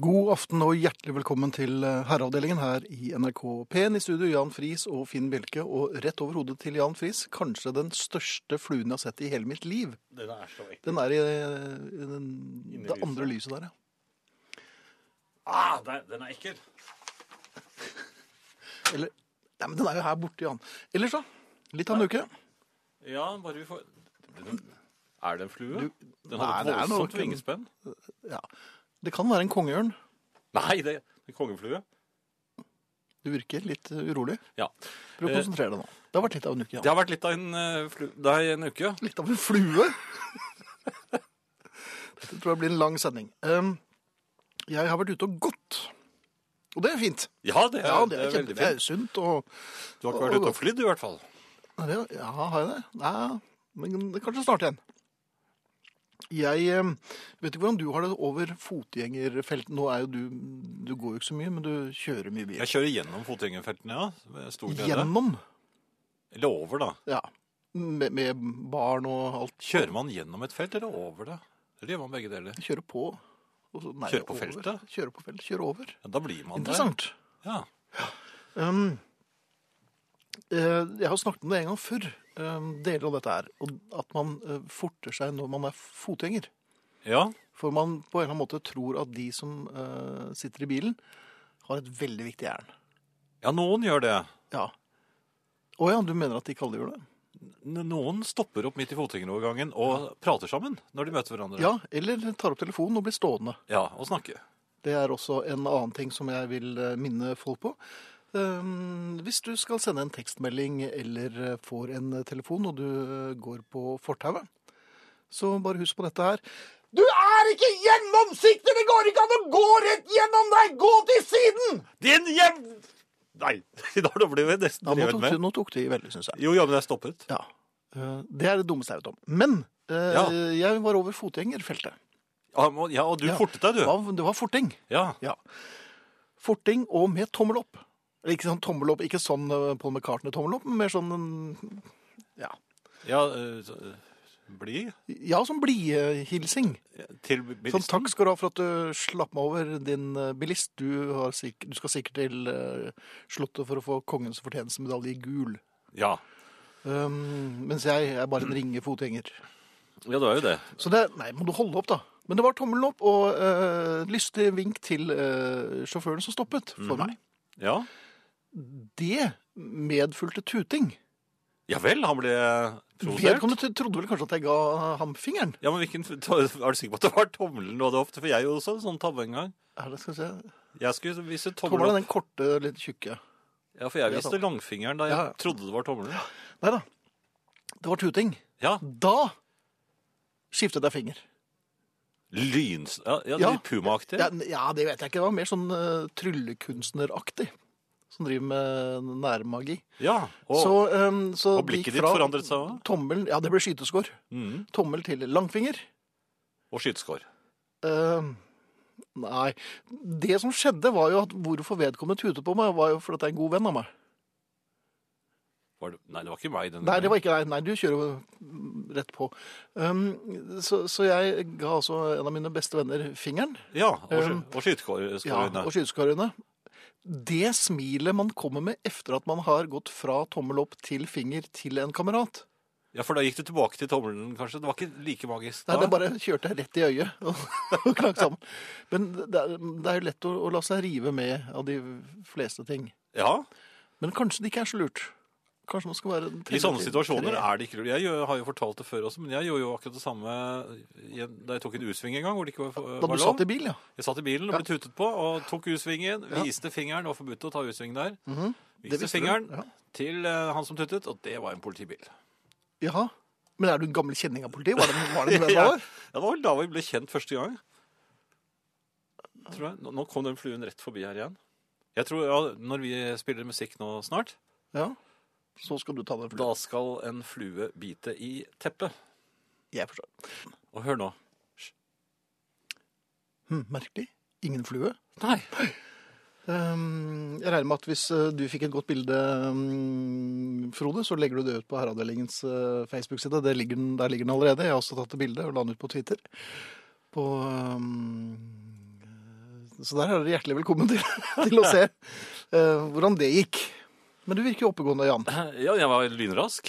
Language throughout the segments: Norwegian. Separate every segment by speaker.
Speaker 1: God aften og hjertelig velkommen til eh, herreavdelingen her i NRK P1. I studio Jan Friis og Finn Bjelke, og rett over hodet til Jan Friis, kanskje den største fluen jeg har sett i hele mitt liv.
Speaker 2: Den er så ekkel.
Speaker 1: Den er i, eh, i den,
Speaker 2: Inni
Speaker 1: det
Speaker 2: lyset.
Speaker 1: andre lyset der, ja.
Speaker 2: Ah, der, den er ekkel.
Speaker 1: Eller, nei, men den er jo her borte, Jan. Ellers da, litt av en uke.
Speaker 2: Ja, bare vi får den, Er det en flue?
Speaker 1: Du-
Speaker 2: den
Speaker 1: Nei,
Speaker 2: har
Speaker 1: det
Speaker 2: et
Speaker 1: er
Speaker 2: voldsomt
Speaker 1: nok en-
Speaker 2: vingespenn.
Speaker 1: Ja. Det kan være en kongeørn.
Speaker 2: Nei, det er en kongeflue.
Speaker 1: Du virker litt eh, urolig.
Speaker 2: Ja.
Speaker 1: Prøv å
Speaker 2: Eh,
Speaker 1: konsentrere deg nå. Det har vært litt av en uke,
Speaker 2: Det
Speaker 1: Jan.
Speaker 2: har vært litt av en, eh, flu, det er en uke.
Speaker 1: Litt av en flue. Dette tror jeg blir en lang sending. Um, jeg har vært ute og gått. Og det er fint.
Speaker 2: Ja, det er,
Speaker 1: Ja, det er,
Speaker 2: det er veldig
Speaker 1: kjempe, det er
Speaker 2: fint.
Speaker 1: sunt. Og,
Speaker 2: Du har ikke vært ute og flydd i hvert fall.
Speaker 1: Nei, det- ja, har jeg det? Nei, men det er kanskje snart igjen. Jeg eh, vet ikke hvordan du har det over fotgjengerfelt. Nå er jo du Du går jo ikke så mye, men du kjører mye bil.
Speaker 2: Jeg kjører gjennom fotgjengerfeltene, ja. med Stor glede.
Speaker 1: Gjennom.
Speaker 2: Eller over, da.
Speaker 1: Ja. Med, med barn og alt.
Speaker 2: Kjører man gjennom et felt eller over det? Eller gjør man begge deler?
Speaker 1: Kjører på. og så- nei,
Speaker 2: Kjører på
Speaker 1: over.
Speaker 2: feltet?
Speaker 1: Kjører på feltet. Kjører over.
Speaker 2: Ja, da blir man
Speaker 1: Interessant.
Speaker 2: der. Ja.
Speaker 1: Um, eh, jeg har snakket om det en gang før, um, deler av dette her. og At man eh, forter seg når man er fotgjenger.
Speaker 2: ja.
Speaker 1: For man på en eller annen måte tror at de som eh, sitter i bilen, har et veldig viktig ærend.
Speaker 2: Ja, noen gjør det.
Speaker 1: Ja. Å ja, du mener at ikke alle gjør det?
Speaker 2: N- Noen stopper opp midt i fotgjengerovergangen og prater sammen når de møter hverandre.
Speaker 1: Ja, eller tar opp telefonen og blir stående.
Speaker 2: Ja, og snakke.
Speaker 1: Det er også en annen ting som jeg vil eh, minne folk på. Um, hvis du skal sende en tekstmelding eller eh, får en eh, telefon og du eh, går på fortauet, så bare husk på dette her.
Speaker 3: Du er ikke gjennomsiktig! Det går ikke an å gå rett gjennom deg! Gå til siden!
Speaker 2: Din hjem... Nei, da ble vi nesten
Speaker 1: Ja, nå,
Speaker 2: revet
Speaker 1: tok,
Speaker 2: med.
Speaker 1: nå tok de veldig, syns jeg.
Speaker 2: Jo, ja, men jeg stoppet.
Speaker 1: Ja. Eh, Det er det dummeste jeg vet om. Men eh,
Speaker 2: Ja.
Speaker 1: jeg var over fotgjengerfeltet.
Speaker 2: Ja, må- ja og du
Speaker 1: Ja.
Speaker 2: fortet deg,
Speaker 1: Det
Speaker 2: du.
Speaker 1: var, det var forting.
Speaker 2: Ja.
Speaker 1: Ja. Forting og med tommel opp. Eller ikke sånn tommel opp, ikke sånn eh, Paul McCartney-tommel opp, men mer sånn en- ja,
Speaker 2: ja eh, så, eh, bli
Speaker 1: ja sånn blidhilsing.
Speaker 2: til
Speaker 1: Sånn,
Speaker 2: bilisten.
Speaker 1: takk skal du ha for at du slapp meg over, din eh, bilist. Du, har sikk- du skal sikkert til eh, Slottet for å få kongens fortjenestemedalje i gul.
Speaker 2: Ja.
Speaker 1: Um, mens jeg er bare en ringe fotgjenger.
Speaker 2: ja, det var jo det.
Speaker 1: Så det Nei, må du holde opp, da. Men det var tommelen opp og eh, lystig vink til eh, sjåføren som stoppet for meg.
Speaker 2: Ja.
Speaker 1: Det medfulgte tuting.
Speaker 2: ja vel, han ble provosert.
Speaker 1: Vedkommende t- trodde vel kanskje at jeg ga ham fingeren.
Speaker 2: Ja, men hvilken, Er du sikker på at det var tommelen du hadde ofte? For jeg gjorde også en sånn tabbe en gang.
Speaker 1: Er det, skal vi se.
Speaker 2: Jeg skulle vise tommelen
Speaker 1: Tommelen
Speaker 2: opp.
Speaker 1: er den korte, litt tjukke.
Speaker 2: Ja, for jeg
Speaker 1: Det er
Speaker 2: viste langfingeren da jeg
Speaker 1: Ja, ja.
Speaker 2: trodde det var tommelen.
Speaker 1: Nei da. Det var tuting.
Speaker 2: Ja,
Speaker 1: Da skiftet jeg finger.
Speaker 2: lyns... Ja, ja,
Speaker 1: Ja.
Speaker 2: litt pumaaktig.
Speaker 1: Ja, n- ja, det vet jeg ikke. Det var mer sånn eh, tryllekunstneraktig. Som driver med nærmagi.
Speaker 2: Ja, og,
Speaker 1: så, eh, så det
Speaker 2: og
Speaker 1: gikk
Speaker 2: blikket ditt
Speaker 1: fra
Speaker 2: forandret seg òg.
Speaker 1: Tommel, ja, det ble skyteskår.
Speaker 2: Mhm.
Speaker 1: Tommel til langfinger.
Speaker 2: Og skyteskår.
Speaker 1: Eh, nei. Det som skjedde, var jo at hvorfor vedkommende tutet på meg, var jo fordi at jeg er en god venn av meg.
Speaker 2: Var det... Nei, det var ikke meg. Den
Speaker 1: Nei, det var ikke deg. Nei, du kjører jo rett på. Um, så, så jeg ga altså en av mine beste venner fingeren
Speaker 2: Ja, og, sky...
Speaker 1: Um,
Speaker 2: og skyteskår. eh,
Speaker 1: ja, og skyteskarøyne. Det smilet man kommer med etter at man har gått fra tommel opp til finger til en kamerat.
Speaker 2: Ja, for da gikk du tilbake til tommelen, kanskje? Det var ikke like magisk da?
Speaker 1: Nei, det bare kjørte jeg rett i øyet og, og knakk sammen. Men det er, det er jo lett å, å la seg rive med av de fleste ting.
Speaker 2: Ja,
Speaker 1: Men kanskje det ikke er så lurt. Kanskje man skal være
Speaker 2: I sånne situasjoner
Speaker 1: tre-
Speaker 2: er det ikke lurt. Jeg gjør- har jo fortalt det før også, men jeg gjorde jo akkurat det samme i en- da jeg tok en U-sving en gang. hvor det ikke var,
Speaker 1: Da
Speaker 2: var
Speaker 1: du
Speaker 2: lov.
Speaker 1: satt i bil, ja.
Speaker 2: Jeg satt i bilen og ble tutet på, og tok U-svingen, viste fingeren, og forbudt å ta U-sving der.
Speaker 1: Mhm. Det
Speaker 2: Viste
Speaker 1: visste du,
Speaker 2: fingeren
Speaker 1: ja.
Speaker 2: til eh, han som tutet, og det var en politibil.
Speaker 1: Jaha. Men er du en gammel kjenning av politiet? Var det, var det,
Speaker 2: Ja,
Speaker 1: det
Speaker 2: ja,
Speaker 1: var?
Speaker 2: det var vel da vi ble kjent første gang. Tror jeg. Nå, nå kom den fluen rett forbi her igjen. Jeg tror, ja, Når vi spiller musikk nå snart,
Speaker 1: Ja. Så skal du ta den flua.
Speaker 2: da skal en flue bite i teppet.
Speaker 1: Jeg forstår.
Speaker 2: Og hør nå.
Speaker 1: Hm, merkelig. Ingen flue.
Speaker 2: Nei.
Speaker 1: Ehm, jeg regner med at hvis eh, du fikk et godt bilde, mm, Frode, så legger du det ut på Herreavdelingens eh, Facebook-side. Det ligger den- Der ligger den allerede. Jeg har også tatt et bilde og la den ut på Twitter. På ehm, Så der er dere hjertelig velkommen til, til å se eh, hvordan det gikk. Men du virker jo oppegående, Jan.
Speaker 2: Ja, jeg var lynrask.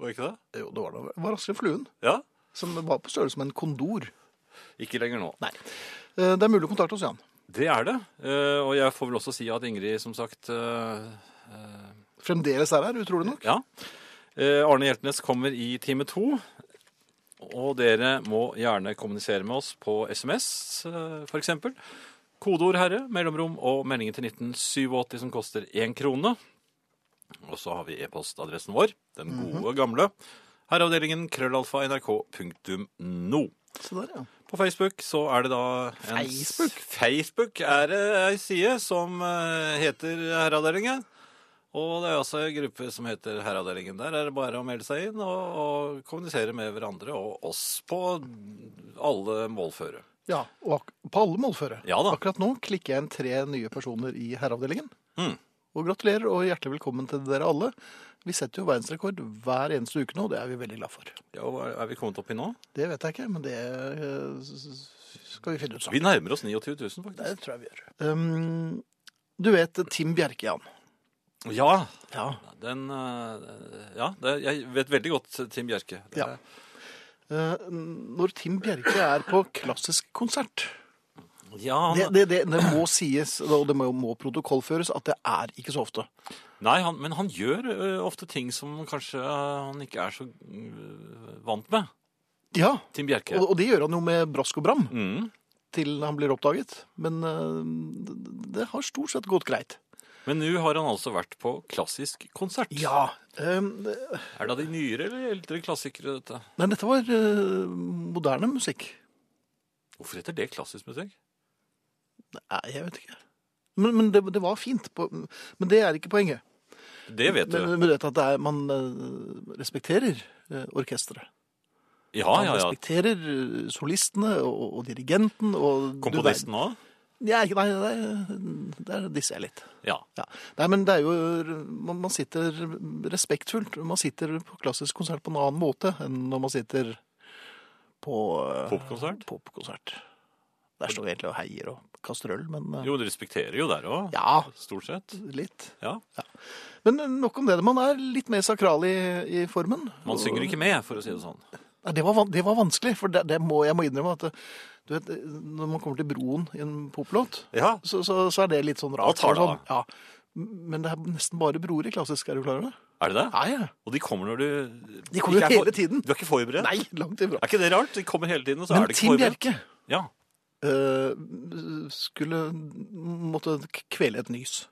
Speaker 2: Var jeg ikke det?
Speaker 1: Jo, det var, det var raskere enn fluen,
Speaker 2: Ja.
Speaker 1: som var på størrelse med en kondor.
Speaker 2: Ikke lenger nå.
Speaker 1: Eh, det er mulig å kontakte oss, Jan.
Speaker 2: Det er det. Eh, Og jeg får vel også si at Ingrid, som sagt eh, eh,
Speaker 1: Fremdeles er her, utrolig nok.
Speaker 2: Ja. Eh, Arne Hjeltnes kommer i time to. Og dere må gjerne kommunisere med oss på SMS, eh, for eksempel. Kodeord 'herre', mellomrom og meldingen til 1987 som koster én krone. Og så har vi e-postadressen vår, den gode gamle. Herreavdelingen krøllalfa nrk.no.
Speaker 1: Se der, ja.
Speaker 2: På Facebook så er det da en
Speaker 1: Facebook?
Speaker 2: Facebook er det ei side som eh, heter Herreavdelingen. Og det er også ei gruppe som heter Herreavdelingen. Der er det bare å melde seg inn og, og kommunisere med hverandre og oss på alle målføre.
Speaker 1: ja. Og ak på alle målføre.
Speaker 2: Ja da.
Speaker 1: Akkurat nå klikker jeg inn tre nye personer i herreavdelingen.
Speaker 2: Mm.
Speaker 1: Og gratulerer, og hjertelig velkommen til dere alle. Vi setter jo verdensrekord hver eneste uke nå, og det er vi veldig glad for.
Speaker 2: Ja, hva er vi kommet opp i nå?
Speaker 1: Det vet jeg ikke, men det eh, s- s- skal vi finne ut sammen.
Speaker 2: Vi nærmer oss 29 000,
Speaker 1: Det
Speaker 2: faktisk.
Speaker 1: tror jeg vi gjør. Um, du vet Tim Bjerke, Jan.
Speaker 2: Ja.
Speaker 1: Ja.
Speaker 2: Den eh, Ja, det, jeg vet veldig godt Tim Bjerke. Det,
Speaker 1: Ja. Ehm, når Tim Bjerke er på klassisk konsert
Speaker 2: ja
Speaker 1: det,
Speaker 2: han,
Speaker 1: det, det, det må sies, og det må, må protokollføres, at det er ikke så ofte.
Speaker 2: nei, han, men han gjør eh, ofte ting som kanskje eh, han ikke er så eh, vant med.
Speaker 1: Ja,
Speaker 2: Tim Bjerke.
Speaker 1: og, og det gjør han jo med brask og bram
Speaker 2: Mm.
Speaker 1: til han blir oppdaget. Men eh, det- det har stort sett gått greit.
Speaker 2: Men nå har han altså vært på klassisk konsert.
Speaker 1: Um,
Speaker 2: ehm,
Speaker 1: det-
Speaker 2: Er det av de nyere eller eldre klassikere, dette?
Speaker 1: nei, dette var eh, moderne musikk.
Speaker 2: Hvorfor heter det klassisk musikk?
Speaker 1: Nei, jeg vet ikke. Men, men det, det var fint. På, men det er ikke poenget.
Speaker 2: Det vet du.
Speaker 1: Men, men du vet at det er, man eh, respekterer eh, orkestret.
Speaker 2: Ja,
Speaker 1: Man
Speaker 2: Ah, ja, ja.
Speaker 1: respekterer eh, solistene og, og dirigenten og
Speaker 2: Komponisten òg?
Speaker 1: Du, nei, nei, nei, der disser jeg litt.
Speaker 2: Ja.
Speaker 1: Ja. Nei, men det er jo man, man sitter respektfullt. Man sitter på klassisk konsert på en annen måte enn når man sitter på eh,
Speaker 2: Popkonsert?
Speaker 1: popkonsert. Der står vi egentlig og heier og kaster øl, men eh,
Speaker 2: Jo, du respekterer jo der òg.
Speaker 1: Ja,
Speaker 2: Stort sett.
Speaker 1: litt.
Speaker 2: Ja.
Speaker 1: Men eh, nok om det. Man er litt mer sakral i, i formen.
Speaker 2: Man synger ikke med, for å si det sånn.
Speaker 1: Nei, det var, van- det var vanskelig, for det, det må, jeg må innrømme at det- du vet, eh, når man kommer til broen i en poplåt,
Speaker 2: Ja.
Speaker 1: så, så, så er det litt sånn
Speaker 2: Da
Speaker 1: rart.
Speaker 2: tar det
Speaker 1: sånn,
Speaker 2: av.
Speaker 1: ja. Men det er nesten bare broer i klassisk, er du klar over det?
Speaker 2: Er det det?
Speaker 1: Nei, ja.
Speaker 2: Og de kommer når du
Speaker 1: De kommer jo
Speaker 2: ikke er for-
Speaker 1: hele tiden.
Speaker 2: Du er ikke forberedt?
Speaker 1: Nei, langt ifra.
Speaker 2: Er ikke det rart? De kommer hele tiden, og så
Speaker 1: Men
Speaker 2: er de ikke
Speaker 1: Tim
Speaker 2: forberedt.
Speaker 1: Bjerke
Speaker 2: Ja.
Speaker 1: øh, skulle måtte kvele et nys.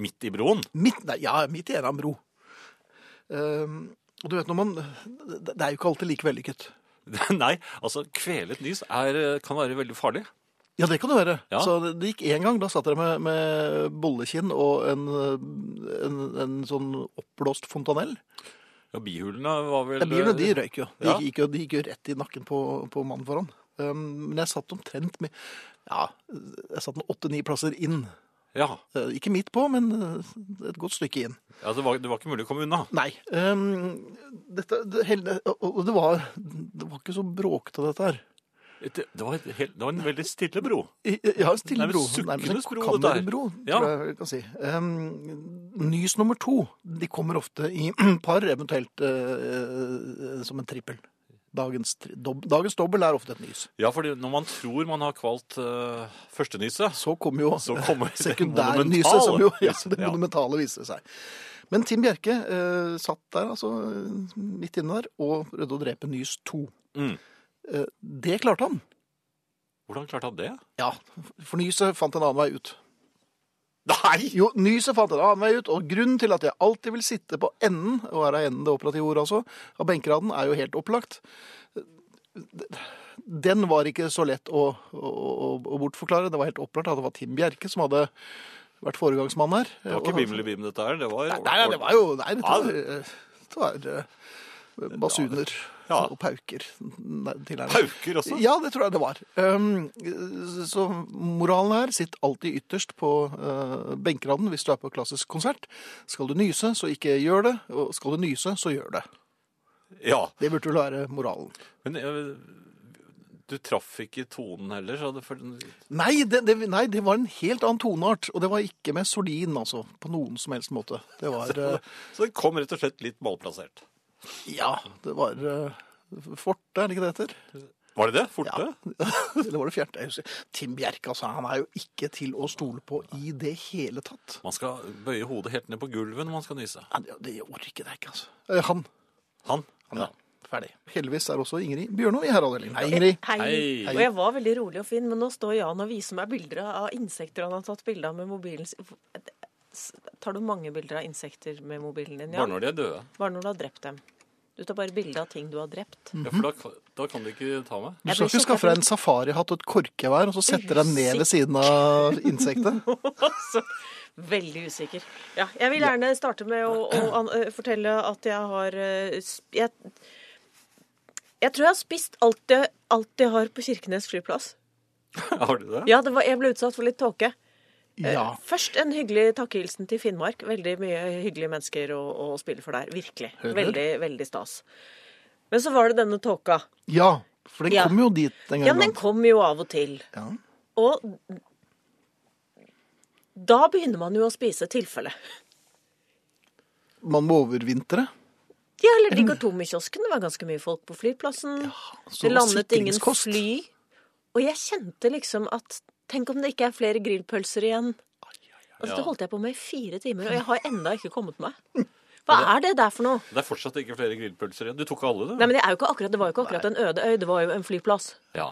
Speaker 2: Midt i broen.
Speaker 1: Midt, nei, ja, midt i en av en bro. Ehm, og du vet når man Det det er jo ikke alltid like vellykket.
Speaker 2: Nei, altså, kvelet nys er, eh, kan være veldig farlig.
Speaker 1: Ja, det kan du være.
Speaker 2: Ja.
Speaker 1: Så det, det gikk én gang. Da satt dere med, med bollekinn og en, en, en sånn oppblåst fontanell.
Speaker 2: Ja, bihulene var vel
Speaker 1: Ja, bilene de røyk jo. De,
Speaker 2: Ja.
Speaker 1: gikk, jo- de gikk jo rett i nakken på, på mannen foran. Um, men jeg satt omtrent med Ja, jeg satt med åtte-ni plasser inn.
Speaker 2: Ja.
Speaker 1: Eh, Ikke midt på, men eh, et godt stykke inn.
Speaker 2: Ja, det var, det var ikke mulig å komme unna.
Speaker 1: Nei. Um, dette, det, hele, og og det var, det var ikke så bråkete, dette her.
Speaker 2: Et- Det var, et helt, det var en veldig stille bro.
Speaker 1: I- Jeg har en stille
Speaker 2: Nei, men
Speaker 1: bro.
Speaker 2: sukkende bro,
Speaker 1: en
Speaker 2: dette her.
Speaker 1: kammerbro,
Speaker 2: Ja.
Speaker 1: tror jeg vi kan si. Ehm, nys nummer to, de kommer ofte i par, eventuelt eh, eh, som en trippel. Dagens, tri- dob, dagens dobbel er ofte et nys.
Speaker 2: Ja, fordi når man tror man har kvalt uh, førstenyset,
Speaker 1: Så kommer jo
Speaker 2: så kommer det
Speaker 1: sekundærnyset, som jo ja, det
Speaker 2: ja.
Speaker 1: monumentale viser seg. Men Tim Bjerke eh, satt der, altså eh, midt inne der, og prøvde å drepe nys to.
Speaker 2: Mm.
Speaker 1: Eh, det klarte han.
Speaker 2: Hvordan klarte han det?
Speaker 1: Ja, for nyset fant en annen vei ut.
Speaker 2: Nei!
Speaker 1: Jo, nyset fant en annen vei ut, og grunnen til at jeg alltid vil sitte på enden, og her er enden det operative ordet altså, av benkeraden, er jo helt opplagt. Den var ikke så lett å, å, å, å bortforklare. Det var helt opplagt at det var Tim Bjerke som hadde vært foregangsmann her.
Speaker 2: Det var ikke bimlebim, dette her. Det var,
Speaker 1: Nei, nei, det var jo Nei, dette var, dette var eh, basuner
Speaker 2: Ja.
Speaker 1: og pauker. Nei, til her.
Speaker 2: Pauker også?
Speaker 1: Ja, det tror jeg det var. Um, så moralen her, sitt alltid ytterst på uh, benkeraden hvis du er på klassisk konsert. Skal du nyse, så ikke gjør det. Og skal du nyse, så gjør det.
Speaker 2: Ja.
Speaker 1: Det burde vel være moralen.
Speaker 2: Men eh, du traff ikke tonen heller, så det, for,
Speaker 1: Nei det, det, nei, det var en helt annen toneart, og det var ikke med sordin, altså, på noen som helst måte. Det var, eh,
Speaker 2: så det kom rett og slett litt malplassert.
Speaker 1: ja, det var eh, Forte, er det ikke det heter?
Speaker 2: Var det det? Forte?
Speaker 1: Eller var det fjerte? Jeg husker. Tim Bjerke, altså, han er jo ikke til å stole på i det hele tatt.
Speaker 2: Man skal bøye hodet helt ned på gulvet når man skal nyse.
Speaker 1: Han, ja, det orker jeg ikke, altså. Eh, Han.
Speaker 2: Han?
Speaker 1: han ja. Ferdig. Heldigvis er også Ingrid Bjørnov i herreavdelingen. Hei, Ingrid.
Speaker 4: Hei.
Speaker 2: Hei.
Speaker 4: Og jeg var veldig rolig og fin, men nå står Jan og viser meg bilder av insekter han har tatt bilde av med mobilen sin. S- Tar du mange bilder av insekter med mobilen din?
Speaker 2: Bare
Speaker 4: Jan?
Speaker 2: når de er døde.
Speaker 4: Bare når du har drept dem. Du tar bare bilde av ting du har drept.
Speaker 2: Ja, for da, da kan du ikke ta meg.
Speaker 1: Du skal ikke skaffe deg en safarihatt og et korkevær og så sette deg ned ved siden av insektet?
Speaker 4: Altså, veldig usikker. Ja, jeg vil gjerne starte med å, å an eh, fortelle at jeg har eh, sp- jeg, jeg tror jeg har spist alt jeg, alt jeg har på Kirkenes flyplass.
Speaker 2: Har du det?
Speaker 4: Ja, det var, jeg ble utsatt for litt tåke. Eh,
Speaker 1: Ja.
Speaker 4: Først en hyggelig takkehilsen til Finnmark. Veldig mye hyggelige mennesker å, å spille for der. Virkelig.
Speaker 1: Hør, hør.
Speaker 4: Veldig, veldig stas. Men så var det denne tåka.
Speaker 1: Ja, for den
Speaker 4: Ja.
Speaker 1: kom jo dit en gang.
Speaker 4: Ja, men den kom jo av og til.
Speaker 1: Ja.
Speaker 4: Og da begynner man jo å spise tilfelle.
Speaker 1: Man må overvintre.
Speaker 4: Ja, eller de går tom i kiosken. Det var ganske mye folk på flyplassen.
Speaker 1: Så
Speaker 4: det landet ingen
Speaker 1: sikringskost.
Speaker 4: fly. Og jeg kjente liksom at Tenk om det ikke er flere grillpølser igjen. Altså,
Speaker 2: Ja.
Speaker 4: Det holdt jeg på med i fire timer, og jeg har enda ikke kommet meg. Hva er det der for noe?
Speaker 2: Det er fortsatt ikke flere grillpølser igjen. Du tok alle, du.
Speaker 4: Nei, men Det, er jo ikke akkurat, det var jo ikke akkurat en øde øy, det var jo en flyplass.
Speaker 2: Ja.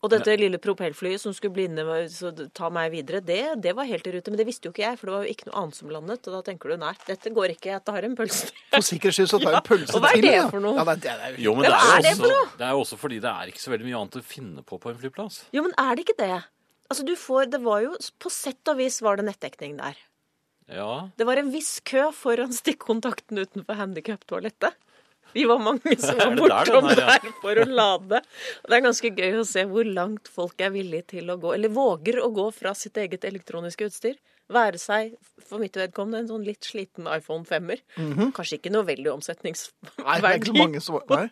Speaker 4: Og dette lille propellflyet som skulle blinde meg, så ta meg videre, det, det var helt i rute. Men det visste jo ikke jeg, for det var jo ikke noe annet som landet. Og da tenker du nei, dette går ikke, jeg tar en pølse.
Speaker 1: For sikkerhets skyld så tar jeg en pølse
Speaker 4: og hva er
Speaker 1: til.
Speaker 4: det
Speaker 1: ja.
Speaker 4: for noe?
Speaker 1: Ja, nei, det er jo
Speaker 2: Jo, men
Speaker 4: Ja,
Speaker 2: det
Speaker 4: hva
Speaker 2: er,
Speaker 4: er det
Speaker 2: jo
Speaker 4: for
Speaker 2: også,
Speaker 4: noe?
Speaker 2: det er jo også fordi det er ikke så veldig mye annet å finne på på en flyplass.
Speaker 4: Jo, men er det ikke det? Altså, du får Det var jo På sett og vis var det nettdekning der.
Speaker 2: Ja.
Speaker 4: Det var en viss kø foran stikkontakten utenfor handikaptoalettet. Vi var mange som var
Speaker 2: Er det der
Speaker 4: bortom
Speaker 2: den er,
Speaker 4: der,
Speaker 2: ja?
Speaker 4: for å lade. Og det er ganske gøy å se hvor langt folk er villige til å gå, eller våger å gå fra sitt eget elektroniske utstyr. Være seg, for mitt vedkommende, en sånn litt sliten iPhone 5-er. Kanskje ikke noe veldig
Speaker 1: Nei, det er ikke så
Speaker 4: omsetningsverdi.
Speaker 1: mange som Nei.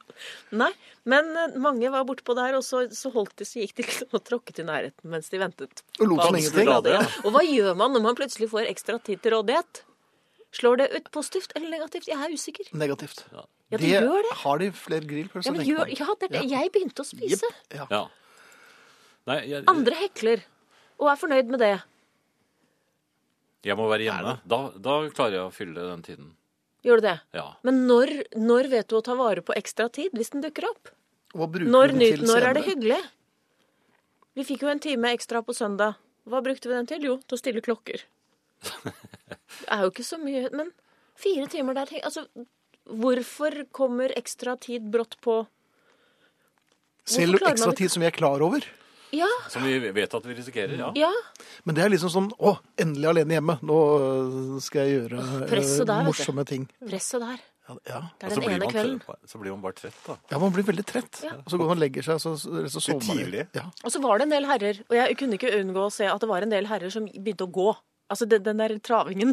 Speaker 4: Nei, men eh, mange var bortpå der, og så, så holdt de, så gikk de liksom og tråkket i nærheten mens de ventet.
Speaker 1: Og lot
Speaker 4: på
Speaker 1: som
Speaker 4: at de skulle
Speaker 1: ingenting.
Speaker 4: lade. Og hva gjør man når man plutselig får ekstra tid til rådighet? Slår det ut positivt eller negativt? Jeg er usikker.
Speaker 1: Negativt.
Speaker 4: Ja, det gjør det.
Speaker 1: Har de flere
Speaker 4: Ja,
Speaker 1: grillpølser?
Speaker 4: men
Speaker 1: Sånn tenker
Speaker 4: gjør,
Speaker 1: man.
Speaker 4: ja, det er det. Jeg begynte å spise.
Speaker 1: Ja.
Speaker 2: ja. Nei, jeg,
Speaker 4: Andre hekler og er fornøyd med det.
Speaker 2: jeg må være hjemme. Da, da klarer jeg å fylle den tiden.
Speaker 4: Gjør du det?
Speaker 2: Ja.
Speaker 4: Men når, når vet du å ta vare på ekstra tid hvis den dukker opp?
Speaker 1: Hva bruker
Speaker 4: Når,
Speaker 1: du
Speaker 4: ny-
Speaker 1: den til
Speaker 4: når er det
Speaker 1: senere?
Speaker 4: hyggelig? Vi fikk jo en time ekstra på søndag. Hva brukte vi den til? Jo, til å stille klokker. Det er jo ikke så mye, men fire timer der tenk- Altså, hvorfor kommer ekstra tid brått på?
Speaker 1: Selv
Speaker 4: klarer man
Speaker 1: ekstra
Speaker 4: det?
Speaker 1: tid som vi er klar over.
Speaker 4: Ja,
Speaker 2: Som vi vet at vi risikerer, ja.
Speaker 4: ja.
Speaker 1: Men det er liksom sånn Å, endelig alene hjemme. Nå øh, skal jeg gjøre
Speaker 4: presset
Speaker 1: øh,
Speaker 4: der, vet du.
Speaker 1: morsomme ting.
Speaker 4: Presset der.
Speaker 1: Ja, ja.
Speaker 2: Og
Speaker 4: Det er
Speaker 2: så
Speaker 4: den
Speaker 2: blir,
Speaker 4: ene
Speaker 2: man,
Speaker 4: kvelden.
Speaker 2: trøtt- så blir man bare trett, da.
Speaker 1: ja, man blir veldig trett.
Speaker 4: Ja.
Speaker 1: Og så går man og legger seg, og så, så sover man.
Speaker 2: tidlig.
Speaker 1: Ja.
Speaker 4: Og så var det en del herrer, og jeg kunne ikke unngå å se at det var en del herrer som begynte å gå. Altså den, den der travingen.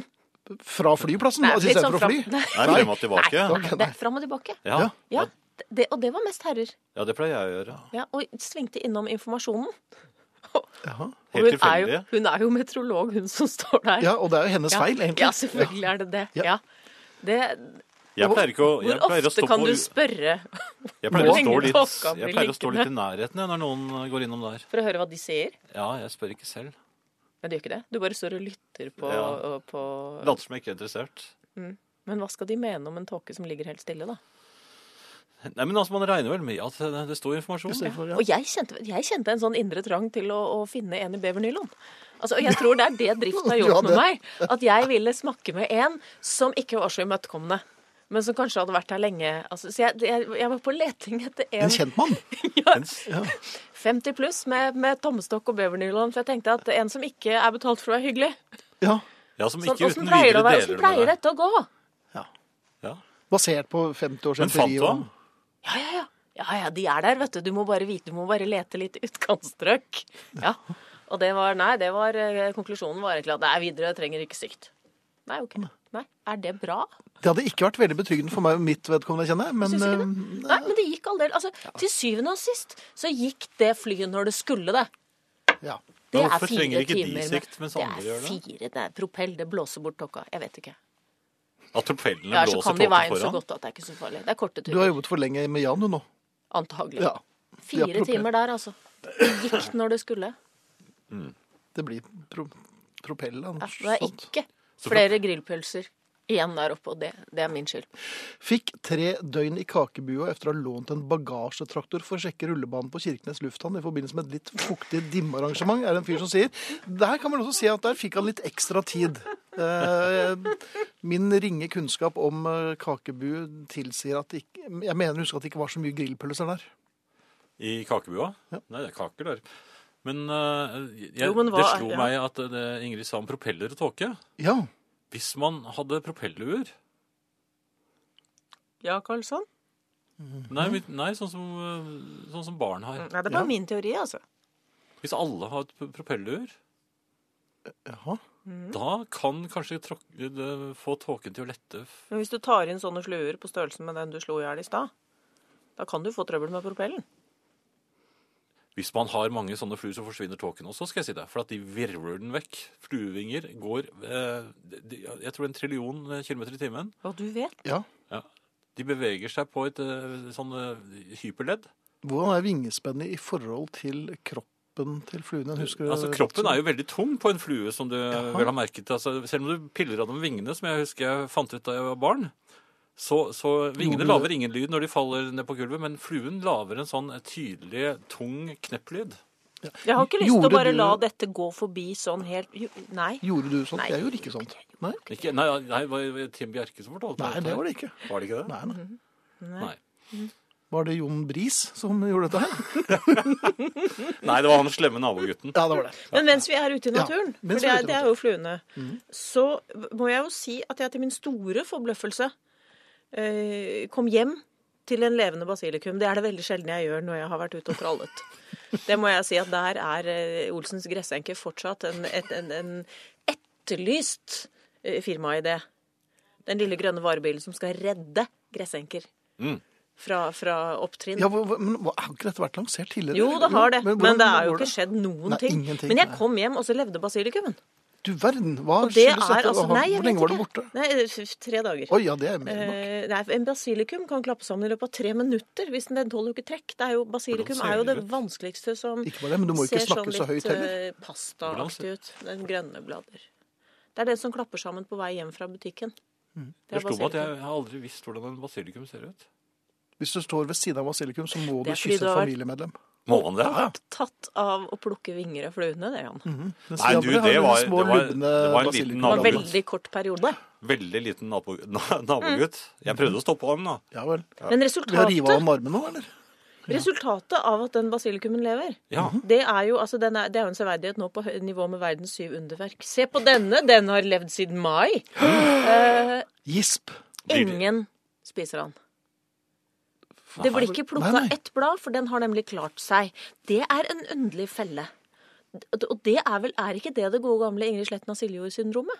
Speaker 1: Fra flyplassen,
Speaker 4: Nei,
Speaker 1: altså
Speaker 4: litt sånn
Speaker 1: istedenfor å
Speaker 4: fram-
Speaker 1: fly.
Speaker 4: Nei.
Speaker 2: Nei, frem og tilbake.
Speaker 4: Nei, nei,
Speaker 1: Ok,
Speaker 4: det
Speaker 1: nei.
Speaker 4: er fram og tilbake.
Speaker 2: Ja.
Speaker 1: Ja.
Speaker 4: Ja, det, og det var mest herrer.
Speaker 2: ja, det pleier jeg å gjøre.
Speaker 4: Ja, og svingte innom informasjonen.
Speaker 1: Jaha.
Speaker 2: Helt
Speaker 4: Og hun er, jo,
Speaker 2: tilfeldig.
Speaker 4: hun er jo meteorolog, hun som står der.
Speaker 1: Ja, og det er jo hennes feil, egentlig.
Speaker 4: Ja, selvfølgelig er det det.
Speaker 1: Ja.
Speaker 4: Ja. Det,
Speaker 2: Jeg
Speaker 4: hvor-
Speaker 2: pleier ikke å, jeg
Speaker 4: hvor
Speaker 2: pleier å
Speaker 4: ofte
Speaker 2: stå
Speaker 4: kan
Speaker 2: på
Speaker 4: du spørre
Speaker 2: Jeg pleier å
Speaker 4: Hvor
Speaker 2: stå
Speaker 4: lenge
Speaker 2: litt,
Speaker 4: tåka blir
Speaker 2: jeg pleier å stå litt i
Speaker 4: liggende?
Speaker 2: nærheten jeg, når noen går innom der.
Speaker 4: for å høre hva de sier?
Speaker 2: Ja, jeg spør ikke selv.
Speaker 4: Men det gjør ikke det. Du bare står og lytter på,
Speaker 2: Ja.
Speaker 4: og på
Speaker 2: Later som jeg ikke er interessert.
Speaker 4: Men hva skal de mene om en tåke som ligger helt stille, da?
Speaker 2: Nei, men altså, Man regner vel med at det, det står informasjon.
Speaker 1: Istedenfor, ja.
Speaker 4: Og jeg kjente, jeg kjente en sånn indre trang til å, å finne en i bevernylon. Altså, og jeg tror det er det driften har
Speaker 1: Ja,
Speaker 4: gjort med
Speaker 1: det-
Speaker 4: meg. At jeg ville snakke med en som ikke var så imøtekommende. Men som kanskje hadde vært her lenge. Altså, så jeg, jeg, jeg var på leting etter en,
Speaker 1: En kjentmann.
Speaker 4: Ja,
Speaker 2: Ja.
Speaker 4: 50 pluss med, med tommestokk og bevernylon. For jeg tenkte at en som ikke er betalt for å være hyggelig
Speaker 1: Ja.
Speaker 2: Ja, som
Speaker 4: sånn,
Speaker 2: ikke
Speaker 4: Åssen
Speaker 2: uten
Speaker 4: pleier,
Speaker 2: videre
Speaker 4: det å være-
Speaker 2: deler
Speaker 4: hvordan pleier
Speaker 2: med deg.
Speaker 4: dette å gå?
Speaker 1: ja.
Speaker 2: Ja.
Speaker 1: Basert på 50 års
Speaker 2: Men fant
Speaker 1: empiri.
Speaker 2: du ham?
Speaker 1: og-
Speaker 4: Ja, ja, ja. Ja, ja, de er der, vet du. Du må bare vite, du må bare lete litt i utkantstrøk. Ja. Og det var Nei, det var eh, konklusjonen var egentlig at nei, Widerøe trenger ikke sikt. Nei, OK. Nei, er det bra?
Speaker 1: Det hadde ikke vært veldig betryggende for meg og mitt vedkommende, kjenner jeg. Men
Speaker 4: Syns ikke
Speaker 1: eh,
Speaker 4: Nei, men det gikk all del. Altså, Til syvende og sist så gikk det flyet når det skulle det.
Speaker 1: eh, ja.
Speaker 4: Det
Speaker 2: Men
Speaker 4: er
Speaker 2: hvorfor
Speaker 4: fire
Speaker 2: trenger ikke de
Speaker 4: timer med-
Speaker 2: sikt, mens andre gjør det?
Speaker 4: Det er fire, det er propell, det blåser bort tokka. Jeg vet ikke.
Speaker 2: At propellene
Speaker 4: Ja, så
Speaker 2: blåser
Speaker 4: kan de
Speaker 2: tåka
Speaker 4: veien så
Speaker 2: foran?
Speaker 4: godt at det er ikke så farlig. Det er korte
Speaker 1: Du har
Speaker 4: turer.
Speaker 1: jobbet for lenge med Jan, du nå.
Speaker 4: Antagelig.
Speaker 1: Ja. de har
Speaker 4: Fire
Speaker 1: propell.
Speaker 4: timer der, altså. Det gikk når det skulle.
Speaker 1: Det blir pro propell. eller noe
Speaker 4: Ja, Det er
Speaker 1: sånt.
Speaker 4: ikke flere grillpølser igjen der oppe, og det, det er min skyld.
Speaker 1: Fikk tre døgn i kakebua etter å ha lånt en bagasjetraktor for å sjekke rullebanen på Kirkenes lufthavn i forbindelse med et litt fuktig dimmearrangement, er det en fyr som sier. Der kan man også si at der fikk han litt ekstra tid. Eh, Min ringe kunnskap om eh, kakebu tilsier at det ikke, jeg mener å huske at det ikke var så mye grillpølser der.
Speaker 2: I kakebua? Nei, det er kaker der. Men, eh, jeg,
Speaker 4: Jo, men hva
Speaker 2: det
Speaker 4: er-
Speaker 2: slo
Speaker 4: ja.
Speaker 2: meg at eh, det Ingrid sa om propeller og tåke.
Speaker 1: Ja,
Speaker 2: Hvis man hadde propelluer
Speaker 4: Ja, sånn. Karlsson?
Speaker 2: Nei, vi- nei sånn, som, eh, sånn som barn har.
Speaker 4: Nei, det
Speaker 1: bare Ja.
Speaker 4: min teori, altså.
Speaker 2: Hvis alle har pro- propelluer,
Speaker 1: jaha.
Speaker 2: Mm. da kan kanskje tråk- det- få tåken til å lette. f-
Speaker 4: Men hvis du tar inn sånne sluer på størrelsen med den du slo i hjel i stad, da kan du få trøbbel med propellen.
Speaker 2: Hvis man har mange sånne fluer, så forsvinner tåken også, skal jeg si deg. For at de virvler den vekk. Fluevinger går eh, de, Jeg tror en trillion kilometer i timen.
Speaker 4: Og du vet.
Speaker 1: Ja.
Speaker 2: Ja. De beveger seg på et eh, sånn eh, hyperledd.
Speaker 1: Hvordan er vingespennet i forhold til kroppen til fluen? Jeg husker
Speaker 2: Altså, kroppen er jo veldig tung på en flue, som du vel har merket. Altså, selv om du piller av de vingene, som jeg husker jeg fant ut da jeg var barn, så, så
Speaker 1: Gjorde du
Speaker 2: vingene lager ingen lyd når de faller ned på gulvet, men fluen lager en sånn tydelig, tung knepplyd.
Speaker 4: Jeg har ikke lyst til
Speaker 1: Gjorde
Speaker 4: å bare
Speaker 1: du-
Speaker 4: la dette gå forbi sånn helt jo, Nei.
Speaker 1: Gjorde du sånt?
Speaker 4: Nei.
Speaker 1: Jeg gjorde ikke sånt. Nei,
Speaker 2: Ikke, nei, nei, det var Tim Bjerke som fortalte
Speaker 1: Nei det var det ikke.
Speaker 2: Var det ikke det?
Speaker 1: Nei, nei.
Speaker 4: Mhm.
Speaker 2: Nei.
Speaker 1: Var det Jon Bris som gjorde dette her?
Speaker 2: Nei, det var han slemme nabogutten.
Speaker 1: Ja, det var det.
Speaker 4: Men mens vi er ute i naturen,
Speaker 1: Ja, mens
Speaker 4: for
Speaker 1: vi er ute
Speaker 4: det er,
Speaker 1: i Mm.
Speaker 4: det er jo fluene, så må jeg jo si at jeg til min store forbløffelse eh, kom hjem til en levende basilikum. Det er det veldig sjelden jeg gjør når jeg har vært ute og trollet. Det må jeg si at der er eh, Olsens gressenke fortsatt en, et, en, en etterlyst eh, firmaidé. Den lille grønne varebilen som skal redde gressenker fra, fra opptrinn.
Speaker 1: Mm. Ja, hva- hva- men hva- Har ikke dette vært lansert tidligere?
Speaker 4: Jo, det har det, men,
Speaker 1: hvordan
Speaker 4: det er jo
Speaker 1: går
Speaker 4: ikke skjedd noen
Speaker 1: Nei,
Speaker 4: ting.
Speaker 1: ingenting,
Speaker 4: Men jeg
Speaker 1: nei.
Speaker 4: kom hjem, og så levde basilikumen.
Speaker 1: Du verden, hva
Speaker 4: Og det er
Speaker 1: skyldes dette?
Speaker 4: altså
Speaker 1: Hva-
Speaker 4: Nei, jeg
Speaker 1: Hvor
Speaker 4: vet
Speaker 1: lenge var det
Speaker 4: ikke.
Speaker 1: borte?
Speaker 4: Nei, f- tre dager.
Speaker 1: Oi, ja, det er mer enn nok.
Speaker 4: Eh, nei, en basilikum kan klappe sammen i løpet av tre minutter. Hvis den, den tåler jo ikke trekk. Det er jo,
Speaker 2: Hvordan
Speaker 4: basilikum
Speaker 2: ser
Speaker 4: er jo det
Speaker 2: det ut?
Speaker 4: vanskeligste som
Speaker 1: Ikke bare det, men du må jo ikke
Speaker 4: ser sånn
Speaker 1: snakke så høyt
Speaker 4: litt
Speaker 1: heller.
Speaker 4: eh, pastaaktig ut. Den grønne blader. Det er den som klapper sammen på vei hjem fra butikken. Det
Speaker 1: Mm.
Speaker 2: Det
Speaker 4: er
Speaker 2: slo meg at
Speaker 4: basilikum.
Speaker 2: jeg har aldri visst hvordan en basilikum ser ut.
Speaker 1: Hvis du står ved siden av basilikum, så må
Speaker 4: Det
Speaker 1: du
Speaker 4: er fordi
Speaker 1: kysse
Speaker 4: du
Speaker 1: et
Speaker 4: har vært-
Speaker 1: familiemedlem.
Speaker 2: Må man det? Ja.
Speaker 4: Tatt av å plukke vinger av fluene, det, Jan.
Speaker 1: Mens
Speaker 2: Nei,
Speaker 1: de
Speaker 2: du,
Speaker 1: andre har
Speaker 2: det
Speaker 1: jo de
Speaker 2: var-
Speaker 1: små,
Speaker 2: det var-
Speaker 1: lubne
Speaker 2: det var en liten
Speaker 1: basilikum.
Speaker 4: Det var
Speaker 2: nabo-
Speaker 4: en veldig Mm. kort periode.
Speaker 2: Veldig liten nabo, na- nabogutt. Jeg prøvde å stoppe han, da.
Speaker 1: Ja vel.
Speaker 4: Men
Speaker 1: Vil jeg rive av
Speaker 4: resultatet,
Speaker 1: ham armen nå, eller?
Speaker 4: resultatet av at den basilikumen lever,
Speaker 2: Ja.
Speaker 4: Det er jo, altså, den er, det er jo en severdighet nå på hø- nivå med verdens syv underverk. Se på denne! Den har levd siden mai. Eh,
Speaker 1: Gisp.
Speaker 2: Blir-
Speaker 4: ingen spiser den. Det blir ikke
Speaker 1: Nei,
Speaker 4: plukka
Speaker 1: nei.
Speaker 4: ett blad, for den har nemlig klart seg. Det er en underlig felle. D- Og det er vel er ikke det det gode gamle Ingrid Sletten av Siljord-syndromet?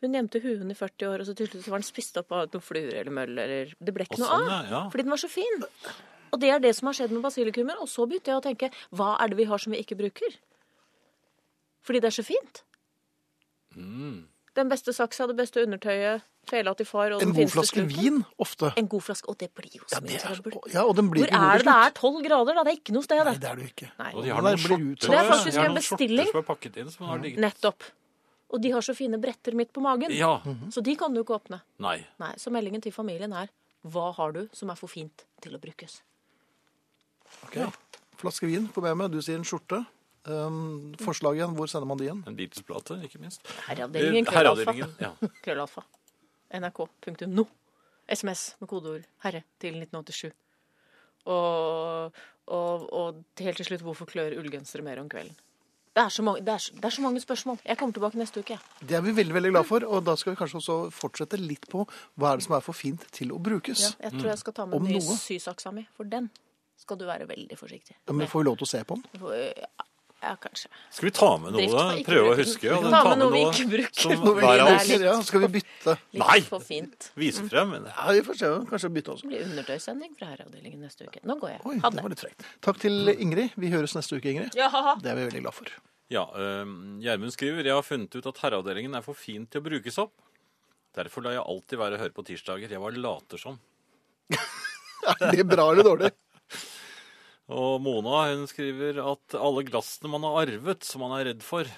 Speaker 4: Hun gjemte huen i 40 år, og så til slutt var den spist opp av noen fluer eller møll eller Det ble
Speaker 2: Og
Speaker 4: ikke noe
Speaker 2: sånn,
Speaker 4: av.
Speaker 2: ja. ja.
Speaker 4: Fordi den var så fin. Og det er det som har skjedd med basilikumer. Og så begynte jeg å tenke hva er det vi har som vi ikke bruker? Fordi det er så fint. Den beste saksa, det beste undertøyet, fela til far og
Speaker 1: En
Speaker 4: den
Speaker 1: god
Speaker 4: fineste
Speaker 1: flaske
Speaker 4: strupen.
Speaker 1: vin, ofte.
Speaker 4: En god flaske. Og det blir jo så
Speaker 1: Ja, det
Speaker 4: mye
Speaker 1: er,
Speaker 4: trøbbel.
Speaker 1: ja, og den blir
Speaker 4: Hvor
Speaker 1: ikke god til
Speaker 4: er det det
Speaker 1: slutt.
Speaker 4: er tolv grader, da? Det er ikke noe sted,
Speaker 1: Nei,
Speaker 4: det.
Speaker 1: det er det jo ikke.
Speaker 4: Nei.
Speaker 2: Og de har
Speaker 1: Nei,
Speaker 2: noen
Speaker 1: det blir
Speaker 2: skjorter.
Speaker 1: utsolgt.
Speaker 4: Det er
Speaker 2: ja.
Speaker 4: faktisk
Speaker 2: De har noen
Speaker 4: en
Speaker 2: skjorter
Speaker 4: bestilling.
Speaker 2: Som er pakket inn, som har ligget.
Speaker 4: Nettopp. Og de har så fine bretter midt på magen,
Speaker 2: Ja.
Speaker 4: så de kan du ikke åpne.
Speaker 2: Nei.
Speaker 4: Nei, Så meldingen til familien er hva har du som er for fint til å brukes?
Speaker 1: Ok. Flaske vin får jeg med. Du sier en skjorte. Um, forslaget igjen, hvor sender man de igjen?
Speaker 2: En Beatles-plate, ikke minst.
Speaker 4: Herreavdelingen,
Speaker 2: Eh,
Speaker 4: krøllalfa.
Speaker 2: Herreavdelingen, ja.
Speaker 4: krøllalfa, nrk.no. SMS med kodeord 'herre' til 1987. Og, og, og helt til slutt hvorfor klør ullgensere mer om kvelden? Det er, så mange, det, er, så- det er så mange spørsmål. Jeg kommer tilbake neste uke. jeg.
Speaker 1: Det er vi veldig veldig glad for, og da skal vi kanskje også fortsette litt på hva er det som er for fint til å brukes.
Speaker 4: Jeg tror jeg skal ta
Speaker 1: Mm.
Speaker 4: med
Speaker 1: Om
Speaker 4: den nye
Speaker 1: noe.
Speaker 4: sysaksa mi, for den skal du være veldig forsiktig
Speaker 1: Men får vi lov til å se på den?
Speaker 4: med. Ja, kanskje.
Speaker 2: Skal vi ta med
Speaker 4: Drift
Speaker 2: noe?
Speaker 4: var ikke
Speaker 2: Prøve å
Speaker 4: bruken.
Speaker 2: huske? ja, den-
Speaker 4: Ta med noe vi ikke bruker.
Speaker 2: som
Speaker 1: Noe vi
Speaker 2: hver av
Speaker 1: ikke
Speaker 2: oss
Speaker 4: Det er litt-
Speaker 1: liker, ja, skal vi bytte?
Speaker 4: Litt
Speaker 2: Nei!
Speaker 4: for fint.
Speaker 2: viser frem. men
Speaker 1: Ja, vi får se. Kanskje bytte også.
Speaker 4: Det blir undertøysending fra herreavdelingen neste uke. Nå går jeg.
Speaker 1: Oi,
Speaker 4: Ha
Speaker 1: det
Speaker 4: det.
Speaker 1: var litt frekt. Takk til Ingrid. Vi høres neste uke, Ingrid.
Speaker 4: Ja, ha, ha.
Speaker 1: Det er vi veldig glad for.
Speaker 2: Ja, eh, Gjermund skriver Jeg har funnet ut at herreavdelingen er for fin til å brukes opp. Derfor lar jeg alltid være å høre på tirsdager. Jeg var later som.
Speaker 1: Er det bra eller dårlig?
Speaker 2: Og Mona hun skriver at alle glassene man har arvet, som man er redd for, de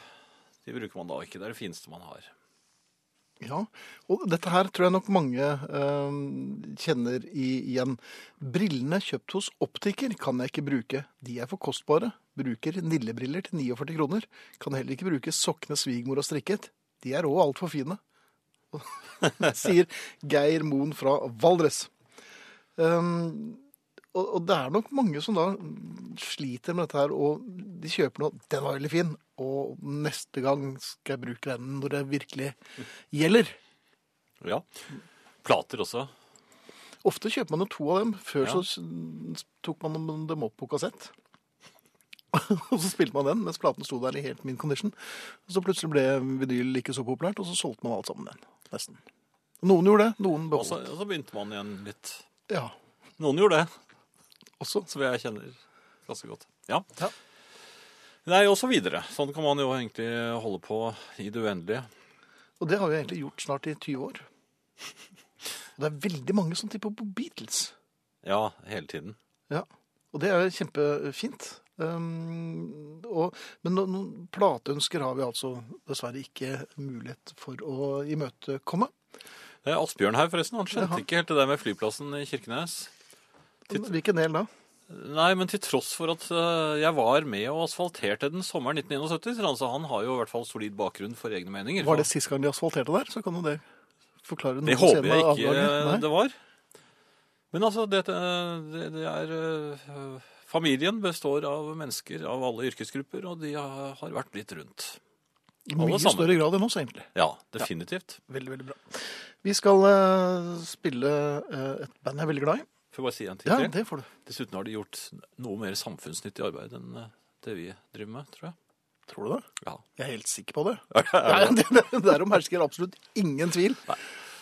Speaker 2: bruker man da ikke. Det er det fineste man har.
Speaker 1: Ja, og dette her tror jeg nok mange eh, kjenner i, igjen. Brillene kjøpt hos optiker kan jeg ikke bruke. De er for kostbare. Bruker nillebriller til 49 kroner. Kan heller ikke bruke sokkene svigermor har strikket. De er òg altfor fine. Sier Geir Moen fra Valdres. Ehm, og, og det er nok mange som da sliter med dette her, og de kjøper noe 'Den var veldig fin', og neste gang skal jeg bruke den når det virkelig gjelder.
Speaker 2: Ja. Plater også.
Speaker 1: Ofte kjøper man jo to av dem. Før
Speaker 2: Ja.
Speaker 1: så s- tok man dem opp på kassett. og så spilte man den mens platen sto der i helt min condition. Og så plutselig ble vinyl ikke så populært, og så solgte man alt sammen den. Nesten. Noen gjorde det, noen
Speaker 2: Og så
Speaker 1: beholdt.
Speaker 2: og så begynte man igjen litt.
Speaker 1: Ja,
Speaker 2: Noen gjorde det.
Speaker 1: også.
Speaker 2: som jeg kjenner ganske godt. Ja.
Speaker 1: Ja.
Speaker 2: Nei, og så videre. Sånn kan man jo egentlig holde på i det uendelige.
Speaker 1: Og det har vi egentlig gjort snart i 20 år. Og det er veldig mange som tipper på Beatles.
Speaker 2: Ja, hele tiden.
Speaker 1: Ja, og det er kjempefint. Um, og, men no, noen plateønsker har vi altså dessverre ikke mulighet for å imøtekomme.
Speaker 2: Eh, Asbjørn her, forresten. Han skjønte
Speaker 1: Jaha.
Speaker 2: ikke helt det der med flyplassen i Kirkenes. Titt-
Speaker 1: Hvilken del da?
Speaker 2: Nei, men til tross for at eh, jeg var med og asfalterte den sommeren 1971, så altså, han har jo i hvert fall solid bakgrunn for egne meninger.
Speaker 1: Var det sist gang de asfalterte der? Så kan jo det forklare noe
Speaker 2: Det
Speaker 1: senere
Speaker 2: håper jeg ikke
Speaker 1: avganger.
Speaker 2: eh,
Speaker 1: Nei?
Speaker 2: det var. Men altså, det, det, det er eh, Familien består av mennesker av alle yrkesgrupper, og de har har vært litt rundt.
Speaker 1: I
Speaker 2: alle
Speaker 1: mye
Speaker 2: sammen.
Speaker 1: større grad enn oss, egentlig.
Speaker 2: Ja, definitivt.
Speaker 1: Veldig, veldig bra. Vi skal eh, spille eh, et band jeg er veldig glad i.
Speaker 2: Får jeg bare si en ting
Speaker 1: Ja,
Speaker 2: til.
Speaker 1: det får du.
Speaker 2: Dessuten har de gjort noe mer samfunnsnyttig arbeid enn eh, det vi driver med, tror jeg.
Speaker 1: Tror du det?
Speaker 2: Ja.
Speaker 1: Jeg er helt sikker på det. Ja, det, det, derom hersker absolutt ingen tvil.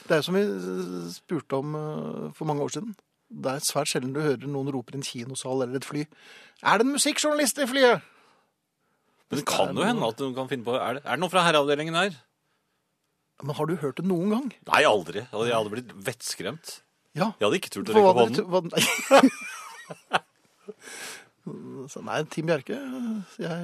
Speaker 1: Det er som vi eh, spurte om eh, for mange år siden. Det er svært sjelden du hører noen roper i en kinosal eller et fly. Er det en musikkjournalist i flyet?
Speaker 2: Men det kan jo hende at noen kan finne på Er det, er det noen fra herreavdelingen her?
Speaker 1: Men har du hørt det noen gang?
Speaker 2: Nei, aldri. Jeg hadde- jeg hadde blitt vettskremt.
Speaker 1: Ja.
Speaker 2: Jeg hadde ikke turt å
Speaker 1: For
Speaker 2: rekke
Speaker 1: hva
Speaker 2: opp
Speaker 1: dere
Speaker 2: hånden.
Speaker 1: tro- hva- Så Nei, Team Bjerke eh, jeg,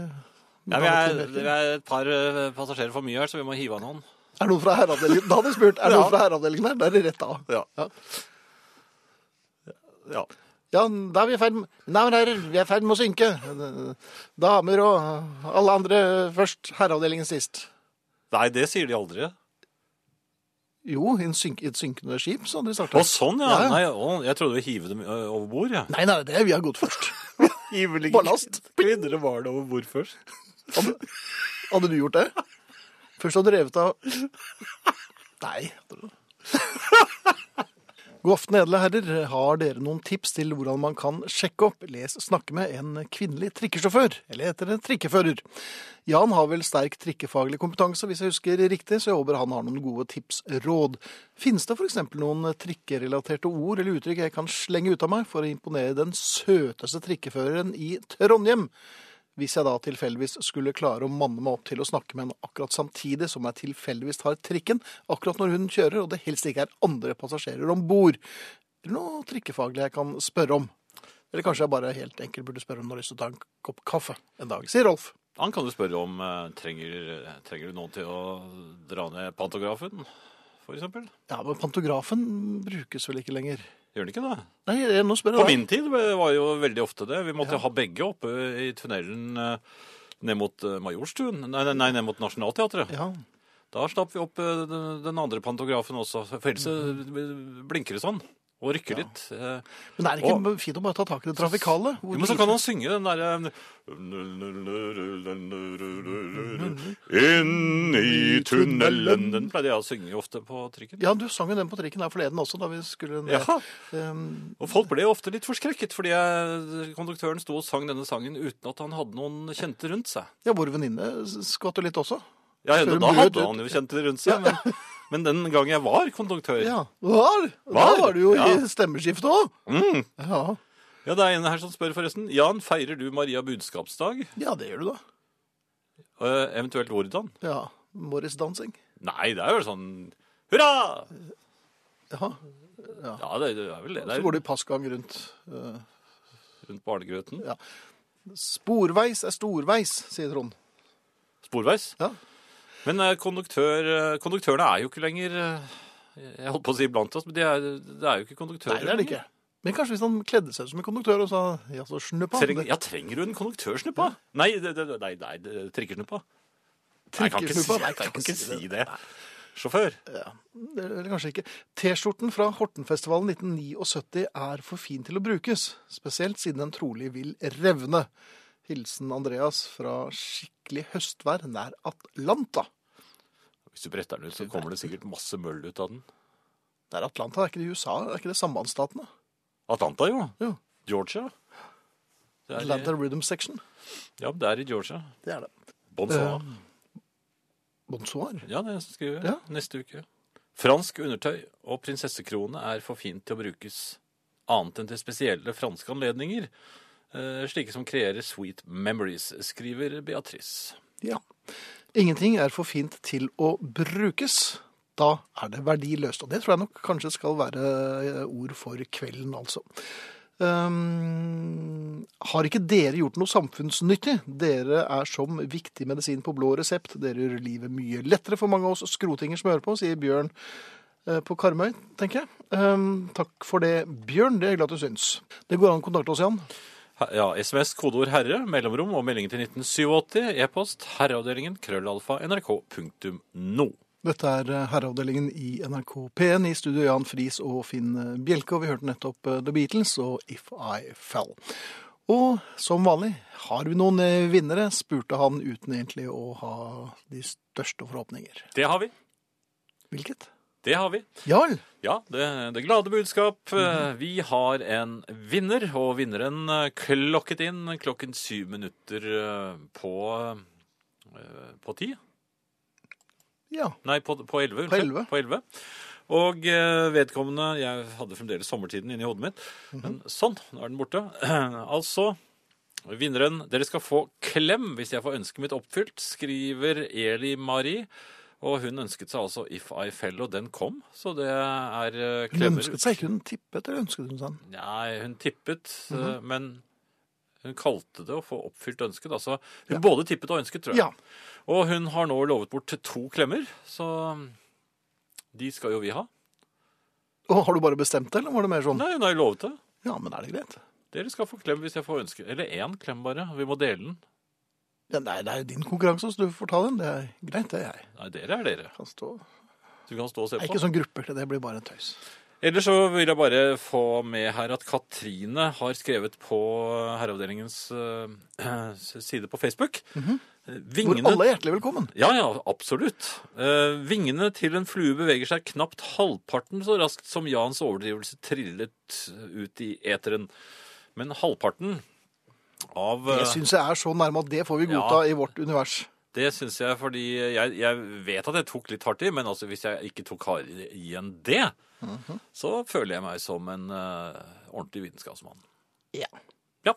Speaker 2: Ja, vi
Speaker 1: Da er
Speaker 2: er,
Speaker 1: det Team
Speaker 2: vi
Speaker 1: Bjerke.
Speaker 2: er et par eh, passasjerer for mye her, så vi må hive av noen.
Speaker 1: Er det noen fra herreavdelingen? Da hadde jeg spurt. Er det noen fra herreavdelingen her? Da er det rett av.
Speaker 2: Ja.
Speaker 1: Ja,
Speaker 2: Ja.
Speaker 1: Ja, da er vi i ferd med Nei, men herrer, vi er i ferd med å synke. Damer og alle andre først. Herreavdelingen sist.
Speaker 2: Nei, det sier de aldri.
Speaker 1: Jo, i en synk, et synkende skip, så hadde vi starta.
Speaker 2: Å, sånn, ja.
Speaker 1: Ja, ja.
Speaker 2: Nei, å, jeg trodde vi hive dem eh, over bord, jeg.
Speaker 1: Nei, nei, det er vi har gått først.
Speaker 2: Hive
Speaker 1: Ballast.
Speaker 2: Kvinner og barn over bord først.
Speaker 1: Hadde du gjort det? Først hadde du revet av Nei. hadde du- God aften, edle herrer. Har dere noen tips til hvordan man kan sjekke opp, les, snakke med en kvinnelig trikkesjåfør? Eller heter det trikkefører? Jan har vel sterk trikkefaglig kompetanse, hvis jeg husker riktig, så jeg håper han har noen gode tips, råd. Finnes det f.eks. noen trikkerelaterte ord eller uttrykk jeg kan slenge ut av meg for å imponere den søteste trikkeføreren i Trondheim? Hvis jeg da tilfeldigvis skulle klare å manne meg opp til å snakke med henne akkurat samtidig som jeg tilfeldigvis tar trikken, akkurat når hun kjører, og det helst ikke er andre passasjerer om bord. Eller noe trikkefaglig jeg kan spørre om. Eller kanskje jeg bare helt enkelt burde spørre om hun har lyst til å ta en kopp kaffe en dag, sier Rolf.
Speaker 2: Han kan du spørre om eh, trenger, trenger du noen til å dra ned pantografen, for eksempel.
Speaker 1: Ja, men pantografen brukes vel ikke lenger?
Speaker 2: Gjør den ikke det?
Speaker 1: Nei, jeg- nå spør jeg
Speaker 2: På
Speaker 1: deg.
Speaker 2: min tid var jo veldig ofte det. Vi måtte ha begge oppe i tunnelen eh, ned mot eh, Majorstuen. Nei, nei, nei, ned mot Nationaltheatret.
Speaker 1: Ja,
Speaker 2: Da slapp vi opp eh, den den andre pantografen også. For ellers eh, blinker det sånn. og rykke litt. eh,
Speaker 1: Men er det ikke fint å bare ta tak i det trafikale? Hvor
Speaker 2: Men så
Speaker 1: lite-
Speaker 2: kan han synge den derre Inni eh, tunnelen Den pleide jeg å synge ofte på trikken.
Speaker 1: Ja, du sang jo den på trikken her forleden også, da vi skulle ned.
Speaker 2: Ja,
Speaker 1: Ehm,
Speaker 2: og folk ble jo ofte litt forskrekket fordi jeg, konduktøren sto og sang denne sangen uten at han hadde noen kjente rundt seg.
Speaker 1: ja, vår venninne skvatt jo litt også.
Speaker 2: Ja,
Speaker 1: Før
Speaker 2: ja,
Speaker 1: hun
Speaker 2: da
Speaker 1: brøt
Speaker 2: hadde
Speaker 1: ut.
Speaker 2: han jo kjente rundt seg, men, men den gang jeg var konduktør
Speaker 1: Ja. Var?
Speaker 2: Var?
Speaker 1: Da var du jo
Speaker 2: Ja.
Speaker 1: i stemmeskiftet òg.
Speaker 2: mm.
Speaker 1: Ja.
Speaker 2: Ja, det er en her som spør forresten. Jan, feirer du Maria budskapsdag?
Speaker 1: ja, det gjør du da.
Speaker 2: Eh, eventuelt hvordan?
Speaker 1: Ja. Morris-dansing.
Speaker 2: Nei, det er jo sånn Hurra!
Speaker 1: Ja.
Speaker 2: Ja, det, det er vel det. Det
Speaker 1: Så
Speaker 2: er
Speaker 1: går du i passgang rundt. eh,
Speaker 2: rundt barnegrøten.
Speaker 1: Sporveis er storveis, sier Trond.
Speaker 2: Sporveis.
Speaker 1: Ja.
Speaker 2: Men eh, konduktør, eh, konduktørene er jo ikke lenger eh, Jeg holdt på å si blant oss, men de er, det er jo ikke konduktører.
Speaker 1: Nei, det er det ikke. Men kanskje hvis han kledde seg ut som en konduktør og sa ja, så snupp han.
Speaker 2: Treng, ja, trenger du en konduktørsnuppa? Nei, det, det, nei, nei det- trikkesnuppa. Nei, Jeg kan ikke si,
Speaker 1: Trikkesnuppa? Nei,
Speaker 2: jeg kan ikke si det. Sjåfør.
Speaker 1: Det- Eller kanskje ikke. T-skjorten fra Hortenfestivalen 1979 er for fin til å brukes, spesielt siden den trolig vil revne. Hilsen Andreas fra skikkelig høstvær nær Atlanta.
Speaker 2: Hvis du bretter den ut, så kommer det sikkert masse møll ut av den.
Speaker 1: Det er Atlanta, er ikke det i USA? Er ikke det sambandsstatene?
Speaker 2: Atlanta, jo.
Speaker 1: Jo.
Speaker 2: Georgia. Det er,
Speaker 1: Atlanta
Speaker 2: i-
Speaker 1: Rhythm Section.
Speaker 2: ja, det er i Georgia.
Speaker 1: Det er det.
Speaker 2: Bon Soir.
Speaker 1: Bonsoir.
Speaker 2: Ja, det skriver jeg
Speaker 1: Ja.
Speaker 2: neste uke. Fransk undertøy og prinsessekrone er for fint til å brukes annet enn til spesielle franske anledninger, eh, slike som kreerer sweet memories, skriver Beatrice.
Speaker 1: Ja. Ingenting er for fint til å brukes. Da er det verdiløst. Og det tror jeg nok kanskje skal være eh, ord for kvelden, altså. Ehm, har ikke dere gjort noe samfunnsnyttig? Dere er som viktig medisin på blå resept. Dere gjør livet mye lettere for mange av oss skrotinger som hører på, sier Bjørn eh, på Karmøy, tenker jeg. Ehm, takk for det, Bjørn. Det er jeg glad du syns. Det går an å kontakte oss, Jan.
Speaker 2: He- Ja, SMS, kodeord 'herre', mellomrom og melding til 1987, e-post herreavdelingen krøllalfa nrk.no.
Speaker 1: Dette er eh, herreavdelingen i NRK P1 i studio Jan Friis og Finn eh, Bjelke, og vi hørte nettopp eh, The Beatles og If I Fell. Og som vanlig, har vi noen eh, vinnere? spurte han uten egentlig å ha de største forhåpninger.
Speaker 2: Det har vi.
Speaker 1: Hvilket?
Speaker 2: Det har vi.
Speaker 1: Jarl?
Speaker 2: Ja, det, det glade budskap.
Speaker 1: Mhm.
Speaker 2: Eh, Vi har en vinner, og vinneren eh, klokket inn klokken syv minutter eh, på, eh, på ti.
Speaker 1: Ja.
Speaker 2: Nei, på, på
Speaker 1: På
Speaker 2: elleve. unnskyld.
Speaker 1: elleve.
Speaker 2: På elleve. Og eh, vedkommende Jeg hadde fremdeles sommertiden inni hodet mitt.
Speaker 1: Mhm.
Speaker 2: Men sånn, nå er den borte. altså Vinneren Dere skal få klem hvis jeg får ønsket mitt oppfylt, skriver Eli Marie. Og hun ønsket seg altså If I Fell, og den kom. Så det er eh,
Speaker 1: Hun
Speaker 2: klemmer
Speaker 1: ønsket seg ikke hun tippet, eller ønsket hun seg den?
Speaker 2: Nei, hun tippet,
Speaker 1: Mhm.
Speaker 2: eh, men hun kalte det å få oppfylt ønsket. Altså, hun både tippet og ønsket, tror jeg.
Speaker 1: Ja.
Speaker 2: Og hun har nå lovet bort to klemmer, så de skal jo vi ha.
Speaker 1: Og har du bare bestemt det, eller var det mer sånn?
Speaker 2: Nei, hun har jo lovet det.
Speaker 1: Ja, men er det greit?
Speaker 2: Dere skal få klem hvis jeg får ønske. Eller én klem bare. Vi må dele den.
Speaker 1: Ja, nei, det er jo din konkurranse, så du får ta den. Det er greit, det er jeg.
Speaker 2: Nei, dere er dere.
Speaker 1: Kan stå.
Speaker 2: Du kan stå og se
Speaker 1: Det er
Speaker 2: på.
Speaker 1: ikke sånn grupper, det blir bare en tøys.
Speaker 2: Ellers så vil jeg bare få med her at Katrine har skrevet på Herreavdelingens eh, side på Facebook.
Speaker 1: Mhm.
Speaker 2: Eh,
Speaker 1: Hvor
Speaker 2: Vingene
Speaker 1: alle er hjertelig velkommen.
Speaker 2: Ja, ja, absolutt. Eh, vingene til en flue beveger seg knapt halvparten så raskt som Jans overdrivelse trillet ut i eteren. Men halvparten av eh,
Speaker 1: Det syns jeg er så nærme at det får vi godta i vårt univers.
Speaker 2: Det syns jeg, fordi jeg, jeg vet at jeg tok litt hardt i, men altså hvis jeg ikke tok hardere i enn det, så føler jeg meg som en eh, ordentlig vitenskapsmann.
Speaker 1: Ja.
Speaker 2: Ja.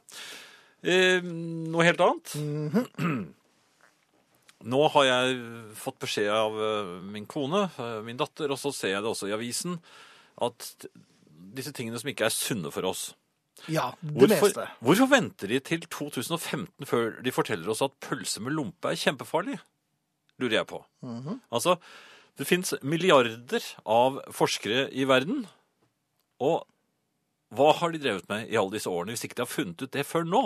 Speaker 2: Eh, noe helt annet. Nå har jeg fått beskjed av eh, min kone, eh, min datter, og så ser jeg det også i avisen, at disse tingene som ikke er sunne for oss
Speaker 1: Ja, det
Speaker 2: Hvorfor,
Speaker 1: meste.
Speaker 2: hvorfor venter de til 2015 før de forteller oss at pølse med lompe er kjempefarlig? Lurer jeg på.
Speaker 1: Mhm.
Speaker 2: Altså, det fins milliarder av forskere i verden, og hva har de drevet med i alle disse årene hvis ikke de har funnet ut det før nå?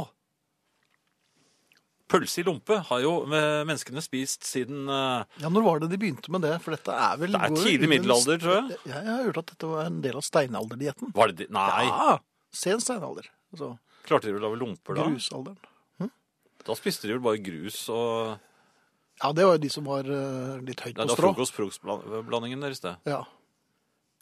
Speaker 2: Pølse i lompe har jo eh, menneskene spist siden eh,
Speaker 1: Ja, Når var det de begynte med det? For dette er vel
Speaker 2: Det er
Speaker 1: går jo
Speaker 2: tidlig
Speaker 1: under-
Speaker 2: middelalder, tror jeg.
Speaker 1: Ja, Jeg har hørt at dette var en del av steinalderdietten.
Speaker 2: Var det de? Nei.
Speaker 1: Ja, sen steinalder. Altså
Speaker 2: Klarte de å lage lomper da?
Speaker 1: grusalderen.
Speaker 2: Da spiste de vel bare grus og
Speaker 1: Ja, det var jo de som var eh, litt høyt
Speaker 2: Nei,
Speaker 1: på
Speaker 2: det var
Speaker 1: strå.
Speaker 2: frokostblandingen deres, det.
Speaker 1: Ja.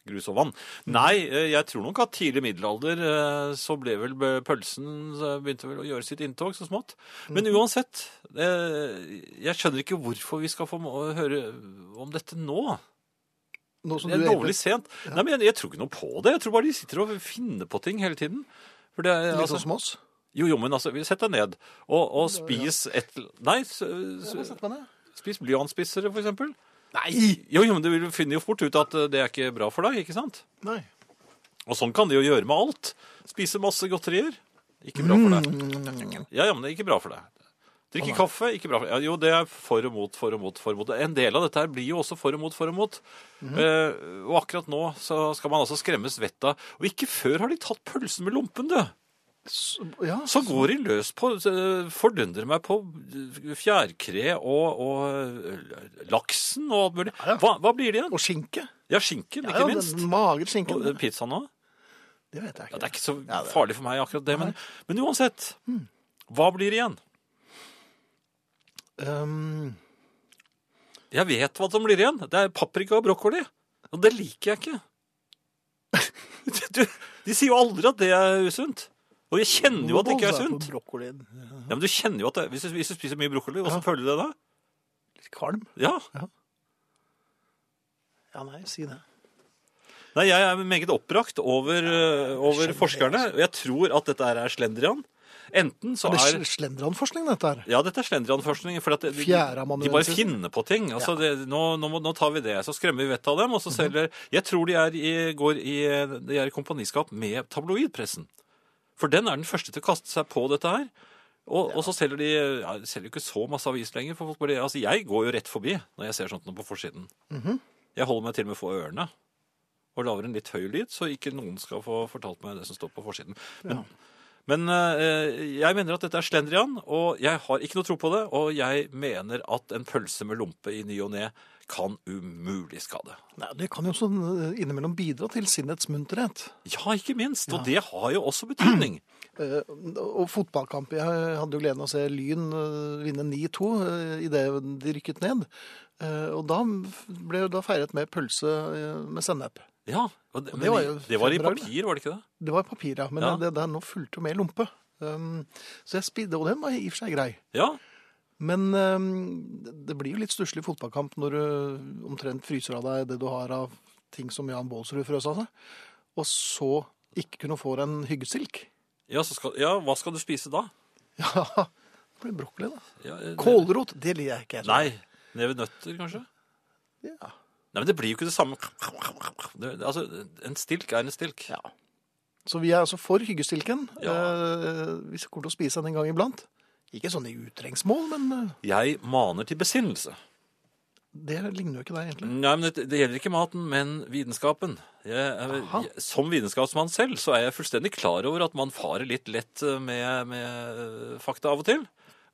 Speaker 2: Grus og vann. Nei, eh, jeg tror nok at tidlig middelalder eh, så ble vel be- pølsen eh, Begynte vel å gjøre sitt inntog så smått. Men
Speaker 1: Mhm.
Speaker 2: uansett, eh, jeg skjønner ikke hvorfor vi skal få må- høre om dette nå.
Speaker 1: Noe som
Speaker 2: Det er
Speaker 1: du egentlig-
Speaker 2: lovlig sent. Nei, men jeg, jeg tror ikke noe på det. Jeg tror bare de sitter og finner på ting hele tiden. For det, er,
Speaker 1: Litt
Speaker 2: altså,
Speaker 1: sånn som oss.
Speaker 2: jo, jo, men altså, sett deg ned og, og spis et Nei, s- s- spis blyantspissere, for eksempel.
Speaker 1: Nei!
Speaker 2: Jo, jo, men du vil- finner jo fort ut at eh, det er ikke bra for deg, ikke sant?
Speaker 1: Nei.
Speaker 2: Og sånn kan de jo gjøre med alt. Spise masse godterier. Ikke bra for deg.
Speaker 1: Mm.
Speaker 2: Ja, ja, men det er ikke bra for deg. Drikke kaffe, ikke bra for deg. Ja, jo, det er for og mot, for og mot, for og mot. En del av dette her blir jo også for og mot, for og mot.
Speaker 1: Mhm.
Speaker 2: Eh, og akkurat nå så skal man altså skremmes vettet av. Og ikke før har de tatt pølsen med lompen, du.
Speaker 1: S- Ja,
Speaker 2: Så går de løs på, eh, fordundrer meg på eh, fjærkre og, og eh, laksen og alt mulig.
Speaker 1: ja.
Speaker 2: Hva, hva blir det igjen?
Speaker 1: Og skinke.
Speaker 2: Ja, skinken,
Speaker 1: Ja, ja,
Speaker 2: ikke minst.
Speaker 1: Den magre
Speaker 2: Og
Speaker 1: skinken.
Speaker 2: eh, pizzaen òg.
Speaker 1: Det vet jeg
Speaker 2: Ja,
Speaker 1: ikke.
Speaker 2: det er Hmm. ikke så
Speaker 1: Ja, det-
Speaker 2: farlig for meg akkurat det, men, men uansett. Hva blir det igjen?
Speaker 1: Ehm,
Speaker 2: Jeg vet hva som blir igjen. Det er paprika og brokkoli. Og det liker jeg ikke. Du, de sier jo aldri at det er usunt. Og jeg kjenner jo at det ikke er
Speaker 1: Hvordan
Speaker 2: sunt.
Speaker 1: på brokkolien?
Speaker 2: Ja, men du kjenner jo at det, hvis, du, hvis du spiser mye brokkoli, hvordan føler du det da?
Speaker 1: Litt kvalm?
Speaker 2: Ja.
Speaker 1: Ja, nei, si det.
Speaker 2: Nei, jeg er meget oppbrakt over, eh, over forskerne. Og jeg tror at dette her er slendrian. Enten så
Speaker 1: Det
Speaker 2: er
Speaker 1: er slendranforskning, dette her.
Speaker 2: Ja, dette er slendrianforskning. For at det, de, de bare
Speaker 1: Fjæreamanuensis.
Speaker 2: finner på ting. Altså, det, nå, nå, må- nå tar vi det. Så skremmer vi vettet av dem. Og så selger Jeg tror de er i, går i, de er i kompaniskap med tabloidpressen. For den er den første til å kaste seg på dette her. Og, og så selger de ja, de selger jo ikke så masse avis lenger. For folk bare, altså, jeg går jo rett forbi når jeg ser sånt noe på forsiden. Jeg holder meg til og med for ørene og lager en litt høy lyd, så ikke noen skal få fortalt meg det som står på forsiden. Men, men eh, jeg mener at dette er slendrian, og jeg har ikke noe tro på det. Og jeg mener at en pølse med lompe i ny og ne kan umulig skade.
Speaker 1: Nei, det kan jo også eh, innimellom bidra til sinnets munterhet.
Speaker 2: Ja, ikke minst. Og det har jo også betydning.
Speaker 1: Eh, Og fotballkamp. Jeg hadde jo gleden av å se Lyn eh, vinne 9-2 idet de rykket ned. Eh, Og da ble jo da feiret med pølse eh, med sennep.
Speaker 2: Ja, og det, men,
Speaker 1: det var jo
Speaker 2: i- det var i
Speaker 1: fremragende.
Speaker 2: papir, var det ikke det?
Speaker 1: Det var papir, ja. Men
Speaker 2: Ja.
Speaker 1: det der nå fulgte jo med lompe. Um, Så jeg spidde, og den var i og for seg grei.
Speaker 2: Ja,
Speaker 1: Men ehm, det blir jo litt stusslig fotballkamp når du eh, omtrent fryser av deg det du har av ting som Jan Baalsrud frøs av seg, og så ikke kunne få deg en hyggesilk.
Speaker 2: ja, så skal, ja hva skal du spise da?
Speaker 1: Ja, det blir brokkoli, da.
Speaker 2: Ja, eh,
Speaker 1: Kålrot, det liker jeg ikke. jeg.
Speaker 2: Nei, nevenøtter kanskje?
Speaker 1: Ja.
Speaker 2: Nei, men det blir jo ikke det samme. Det, altså, en stilk er en stilk.
Speaker 1: Ja. Så vi er altså for hyggestilken.
Speaker 2: Ja.
Speaker 1: Eh, vi kommer til å spise den en gang iblant. Ikke sånn i utrengsmål, men eh,
Speaker 2: Jeg maner til besinnelse.
Speaker 1: det ligner jo ikke deg egentlig.
Speaker 2: Nei, men det, det gjelder ikke maten, men vitenskapen. Jeg, er-
Speaker 1: Jaha.
Speaker 2: jeg, som vitenskapsmann selv så er jeg fullstendig klar over at man farer litt lett eh, med, med eh, fakta av og til.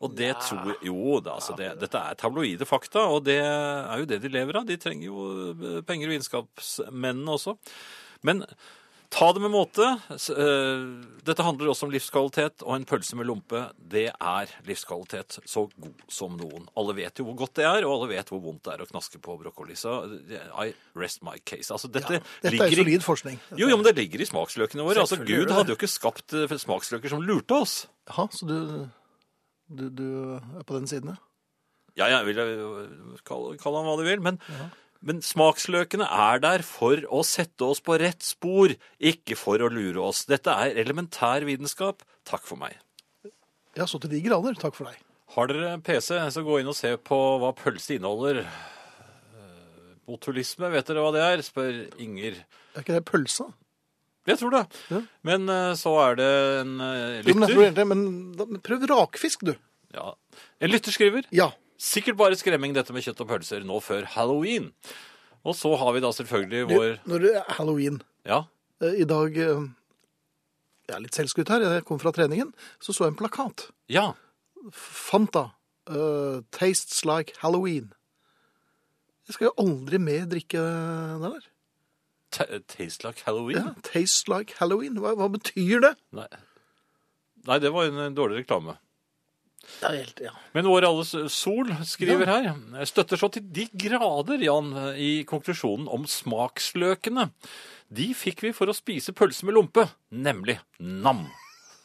Speaker 2: Og det tror jeg Jo da, altså det, dette er tabloide fakta, og det er jo det de lever av. De trenger jo eh, penger, vitenskapsmennene også. Men ta det med måte. S- eh, Dette handler også om livskvalitet, og en pølse med lompe, det er livskvalitet så god som noen. Alle vet jo hvor godt det er, og alle vet hvor vondt det er å knaske på brokkoli. Så eh, I rest my case. Altså, dette,
Speaker 1: Dette er jo
Speaker 2: ligger i
Speaker 1: solid forskning.
Speaker 2: jo, jo, men det ligger i smaksløkene våre. Altså,
Speaker 1: Selvfølgelig gjør
Speaker 2: Gud
Speaker 1: det
Speaker 2: hadde jo ikke skapt eh, smaksløker som lurte oss.
Speaker 1: Jaha, så du, du, du er på den siden, ja?
Speaker 2: Ja, jeg vil eh, kalle, kalle han hva du vil, men, men smaksløkene er der for å sette oss på rett spor, ikke for å lure oss. Dette er elementær vitenskap. Takk for meg.
Speaker 1: Ja, så til de grader. Takk for deg.
Speaker 2: Har dere en PC, så gå inn og se på hva pølse inneholder. Eh, Botulisme, vet dere hva det er? spør Inger.
Speaker 1: Er ikke det pølsa?
Speaker 2: Jeg tror det.
Speaker 1: Ja.
Speaker 2: Men eh, så er det en eh,
Speaker 1: Jo, men, jeg tror
Speaker 2: lytter.
Speaker 1: egentlig, men, da, men prøv rakfisk, du.
Speaker 2: Ja. En lytter skriver
Speaker 1: Ja.
Speaker 2: Sikkert bare skremming dette med kjøtt og pølser nå før halloween. Og så har vi da selvfølgelig
Speaker 1: Du,
Speaker 2: vår
Speaker 1: Når det er halloween
Speaker 2: Ja,
Speaker 1: Eh, I dag eh, Jeg er litt selvskutt her. Jeg kom fra treningen, så så jeg en plakat.
Speaker 2: ja,
Speaker 1: Fanta. eh, tastes like Halloween. Jeg skal jo aldri mer drikke den der.
Speaker 2: Ta- Taste like Halloween?
Speaker 1: Ja, tastes like Halloween. Hva, hva betyr det?
Speaker 2: Nei. Nei, det var en dårlig reklame.
Speaker 1: Det er helt, ja.
Speaker 2: Men vår alles eh, Sol skriver her «Jeg støtter så til de grader, Jan, eh, i konklusjonen om smaksløkene. De fikk vi for å spise pølse med lompe, nemlig nam,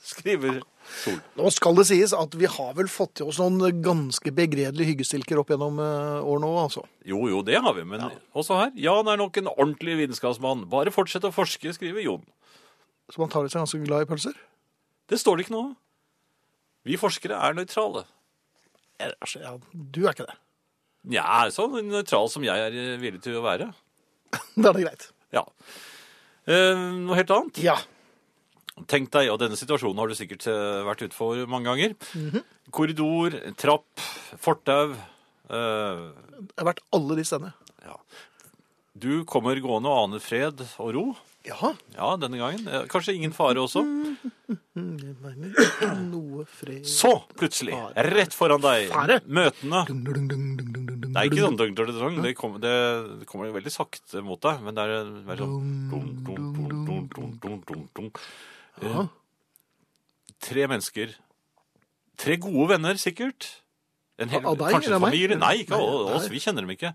Speaker 2: skriver Sol.
Speaker 1: Nå skal det sies at vi har vel fått til oss noen ganske begredelige hyggestilker opp gjennom eh, årene òg, altså.
Speaker 2: Jo, jo, det har vi, men også her. Jan er nok en ordentlig vitenskapsmann. Bare fortsett å forske, skriver Jon.
Speaker 1: Så man tar i seg ganske glad i pølser.
Speaker 2: Det står det ikke noe om. Vi forskere er nøytrale.
Speaker 1: Jeg- altså, Ja, du er ikke det.
Speaker 2: Nja, så sånn nøytral som jeg er eh, villig til å være.
Speaker 1: Da er det greit.
Speaker 2: Ja. Eh, noe helt annet?
Speaker 1: Ja.
Speaker 2: Tenk deg, og denne situasjonen har du sikkert eh, vært ute for mange ganger. Korridor, trapp, fortau. eh,
Speaker 1: Jeg har vært alle de stedene.
Speaker 2: ja. Du kommer gående og aner fred og ro.
Speaker 1: Ja.
Speaker 2: Ja, denne gangen. Eh, Kanskje ingen fare også.
Speaker 1: Jeg mener ikke noe fred
Speaker 2: Så plutselig, rett foran deg,
Speaker 1: Fare?
Speaker 2: møtene
Speaker 1: Dung, dung, dung, dung, dung, dung,
Speaker 2: Det er ikke
Speaker 1: dung.
Speaker 2: sånn dunk, dunk, dunk, dunk. Det, kommer, det det kommer veldig sakte mot deg, men det er mer sånn dunk, dunk, dunk, dunk, dunk, dunk, dunk, dunk. Eh,
Speaker 1: Ja.
Speaker 2: Tre mennesker. Tre gode venner, sikkert. En hel,
Speaker 1: Av deg,
Speaker 2: kanskje
Speaker 1: eller
Speaker 2: en
Speaker 1: av meg?
Speaker 2: familie. Nei, ikke av
Speaker 1: Nei,
Speaker 2: oss.
Speaker 1: nei.
Speaker 2: Vi kjenner dem ikke.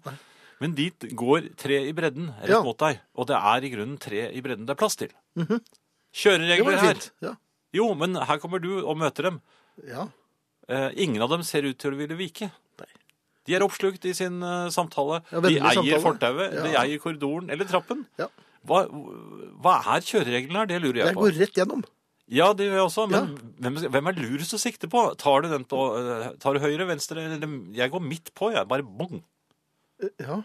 Speaker 2: Men dit går tre i bredden rett
Speaker 1: Ja. Mhm.
Speaker 2: mot deg. Og det er i grunnen tre i bredden det er plass til.
Speaker 1: Det var
Speaker 2: Kjøreregler
Speaker 1: jo
Speaker 2: her.
Speaker 1: fint. Ja.
Speaker 2: Jo, men her kommer du og møter dem.
Speaker 1: ja.
Speaker 2: Eh, ingen av dem ser ut til å ville vike. De er oppslukt i sin eh, samtale.
Speaker 1: Ja,
Speaker 2: de
Speaker 1: vennlig
Speaker 2: eier
Speaker 1: samtale.
Speaker 2: fortauet, de
Speaker 1: Ja.
Speaker 2: eier korridoren eller trappen.
Speaker 1: Ja.
Speaker 2: Hva, hva er kjørereglene her? Det lurer jeg
Speaker 1: Jeg
Speaker 2: på.
Speaker 1: går rett gjennom.
Speaker 2: Ja, det gjør jeg også, men hvem, hvem er lurest å sikte på? Tar du, den på, eh, tar du høyre, venstre? Eller, jeg går midt på, jeg. Bare bong.
Speaker 1: Ja.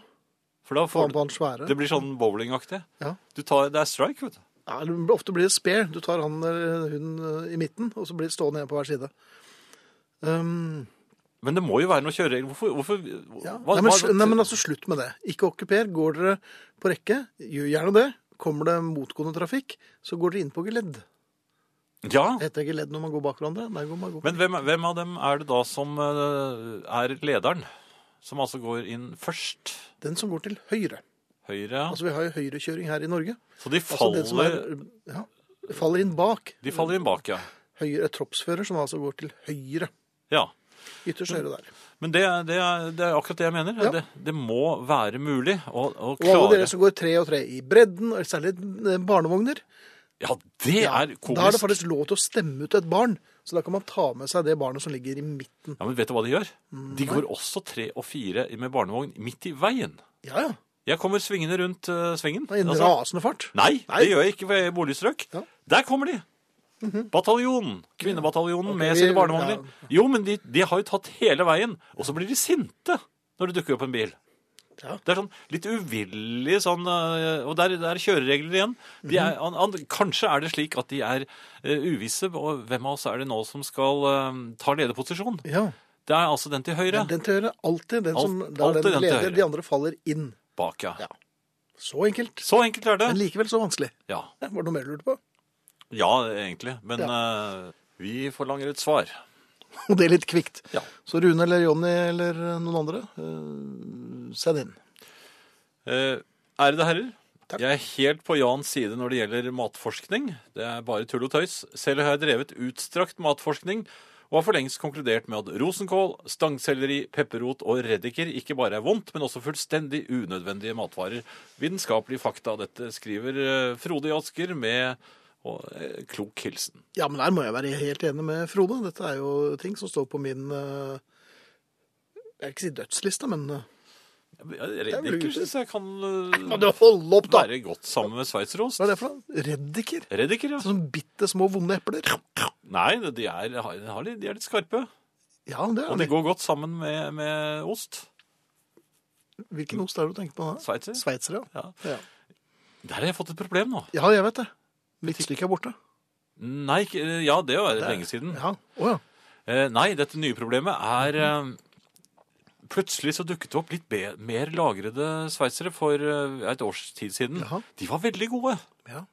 Speaker 2: For da
Speaker 1: Faren
Speaker 2: får
Speaker 1: på han svære.
Speaker 2: det blir sånn bowlingaktig.
Speaker 1: Ja.
Speaker 2: Du tar, det er strike, vet du.
Speaker 1: Ja, eller ofte blir det spare. Du tar han eller hun eh, i midten, og så blir det stående igjen på hver side. Um,
Speaker 2: Men det må jo være noen kjøreregler. Hvorfor, hvorfor
Speaker 1: ja.
Speaker 2: hva-
Speaker 1: nei, men,
Speaker 2: hva-
Speaker 1: sl- nei, men altså, slutt med det. Ikke okkuper. Går dere på rekke, gjør gjerne det. Kommer det motgående trafikk, så går dere inn på geledd.
Speaker 2: ja,
Speaker 1: Det heter geledd når man går bak hverandre. Der går man går.
Speaker 2: Men hvem, hvem av dem er det da som eh, er lederen? Som altså går inn først?
Speaker 1: Den som går til høyre.
Speaker 2: Høyre? ja.
Speaker 1: Altså, vi har jo høyrekjøring her i Norge.
Speaker 2: så de
Speaker 1: Altså,
Speaker 2: faller,
Speaker 1: den som er, ja, faller inn bak.
Speaker 2: de faller inn bak, ja.
Speaker 1: Høyre troppsfører, som altså går til høyre.
Speaker 2: ja.
Speaker 1: Ytterst høyre der.
Speaker 2: Men det, er- det, er, det er akkurat det jeg mener.
Speaker 1: Ja.
Speaker 2: Det, det må være mulig å, å
Speaker 1: Og alle
Speaker 2: klare
Speaker 1: dere som går tre og tre i bredden, og særlig eh, barnevogner,
Speaker 2: Ja, det
Speaker 1: Ja,
Speaker 2: er komisk.
Speaker 1: Da er det faktisk lov til å stemme ut et barn. Så da kan man ta med seg det barnet som ligger i midten.
Speaker 2: Ja, Men vet du hva de gjør?
Speaker 1: Mm,
Speaker 2: De går også tre og fire med barnevogn midt i veien.
Speaker 1: Ja, ja.
Speaker 2: Jeg kommer svingende rundt eh, svingen.
Speaker 1: Det er en
Speaker 2: Altså,
Speaker 1: rasende fart.
Speaker 2: Nei,
Speaker 1: Nei.
Speaker 2: det gjør jeg ikke, for jeg er i boligstrøk.
Speaker 1: Ja. Mhm.
Speaker 2: Der kommer de! Bataljonen. Kvinnebataljonen
Speaker 1: Ok,
Speaker 2: med
Speaker 1: vi-
Speaker 2: sine barnevogner. Jo, men de, de har jo tatt hele veien. Og så blir de sinte når det dukker opp en bil.
Speaker 1: Ja.
Speaker 2: Det er sånn litt uvillig sånn øh, Og der, der er kjøreregler igjen. De
Speaker 1: Mhm.
Speaker 2: er, an, an, kanskje er det slik at de er øh, uvisse, og hvem av oss er det nå som skal øh, ta lederposisjon?
Speaker 1: Ja.
Speaker 2: Det er altså den til høyre.
Speaker 1: Men Den til høyre. Alltid den som
Speaker 2: Alt-
Speaker 1: det er
Speaker 2: alltid
Speaker 1: den
Speaker 2: den til
Speaker 1: leder.
Speaker 2: høyre.
Speaker 1: De andre faller inn.
Speaker 2: Bak, ja.
Speaker 1: Ja. Så enkelt.
Speaker 2: Så enkelt er
Speaker 1: Men
Speaker 2: det.
Speaker 1: likevel så vanskelig.
Speaker 2: Ja,
Speaker 1: Ja, var det noe mer du lurte på?
Speaker 2: ja egentlig. Men øh, vi forlanger et svar.
Speaker 1: Og det er litt kvikt.
Speaker 2: Ja.
Speaker 1: Så Rune eller Jonny eller noen andre, eh, send inn.
Speaker 2: Eh, ærede herrer,
Speaker 1: Takk.
Speaker 2: jeg er helt på Jans side når det gjelder matforskning. Det er bare tull og tøys. Selv har jeg drevet utstrakt matforskning og har for lengst konkludert med at rosenkål, stangselleri, pepperrot og reddiker ikke bare er vondt, men også fullstendig unødvendige matvarer. Vitenskapelige fakta. Dette skriver eh, Frode i Asker med og, eh, klok hilsen.
Speaker 1: Ja, men der må jeg være helt enig med Frode. Dette er jo ting som står på min eh, Jeg vil ikke si dødsliste, men eh, vel
Speaker 2: Reddiker
Speaker 1: lurt.
Speaker 2: syns jeg kan
Speaker 1: Kan
Speaker 2: eh,
Speaker 1: du holde opp, da?
Speaker 2: være godt sammen med sveitserost.
Speaker 1: Hva er det for noe? Reddiker?
Speaker 2: Reddiker, ja.
Speaker 1: Sånn bitte små vonde epler.
Speaker 2: Nei, de er, de har- de er litt skarpe.
Speaker 1: Ja, det er
Speaker 2: Og det
Speaker 1: det.
Speaker 2: går godt sammen med, med ost.
Speaker 1: Hvilken ost er det du tenker på da?
Speaker 2: Sveitser.
Speaker 1: Sveitser, ja.
Speaker 2: Ja.
Speaker 1: ja.
Speaker 2: Der har jeg fått et problem nå.
Speaker 1: Ja, jeg vet det. Mitt stykke er borte.
Speaker 2: Nei, ikke- eh, ja, det var
Speaker 1: er-
Speaker 2: lenge siden.
Speaker 1: Ja, Å, ja.
Speaker 2: Eh, nei, dette nye problemet er eh, Plutselig så dukket det opp litt be mer lagrede sveitsere for eh, et års tid siden.
Speaker 1: Jaha.
Speaker 2: De var veldig gode.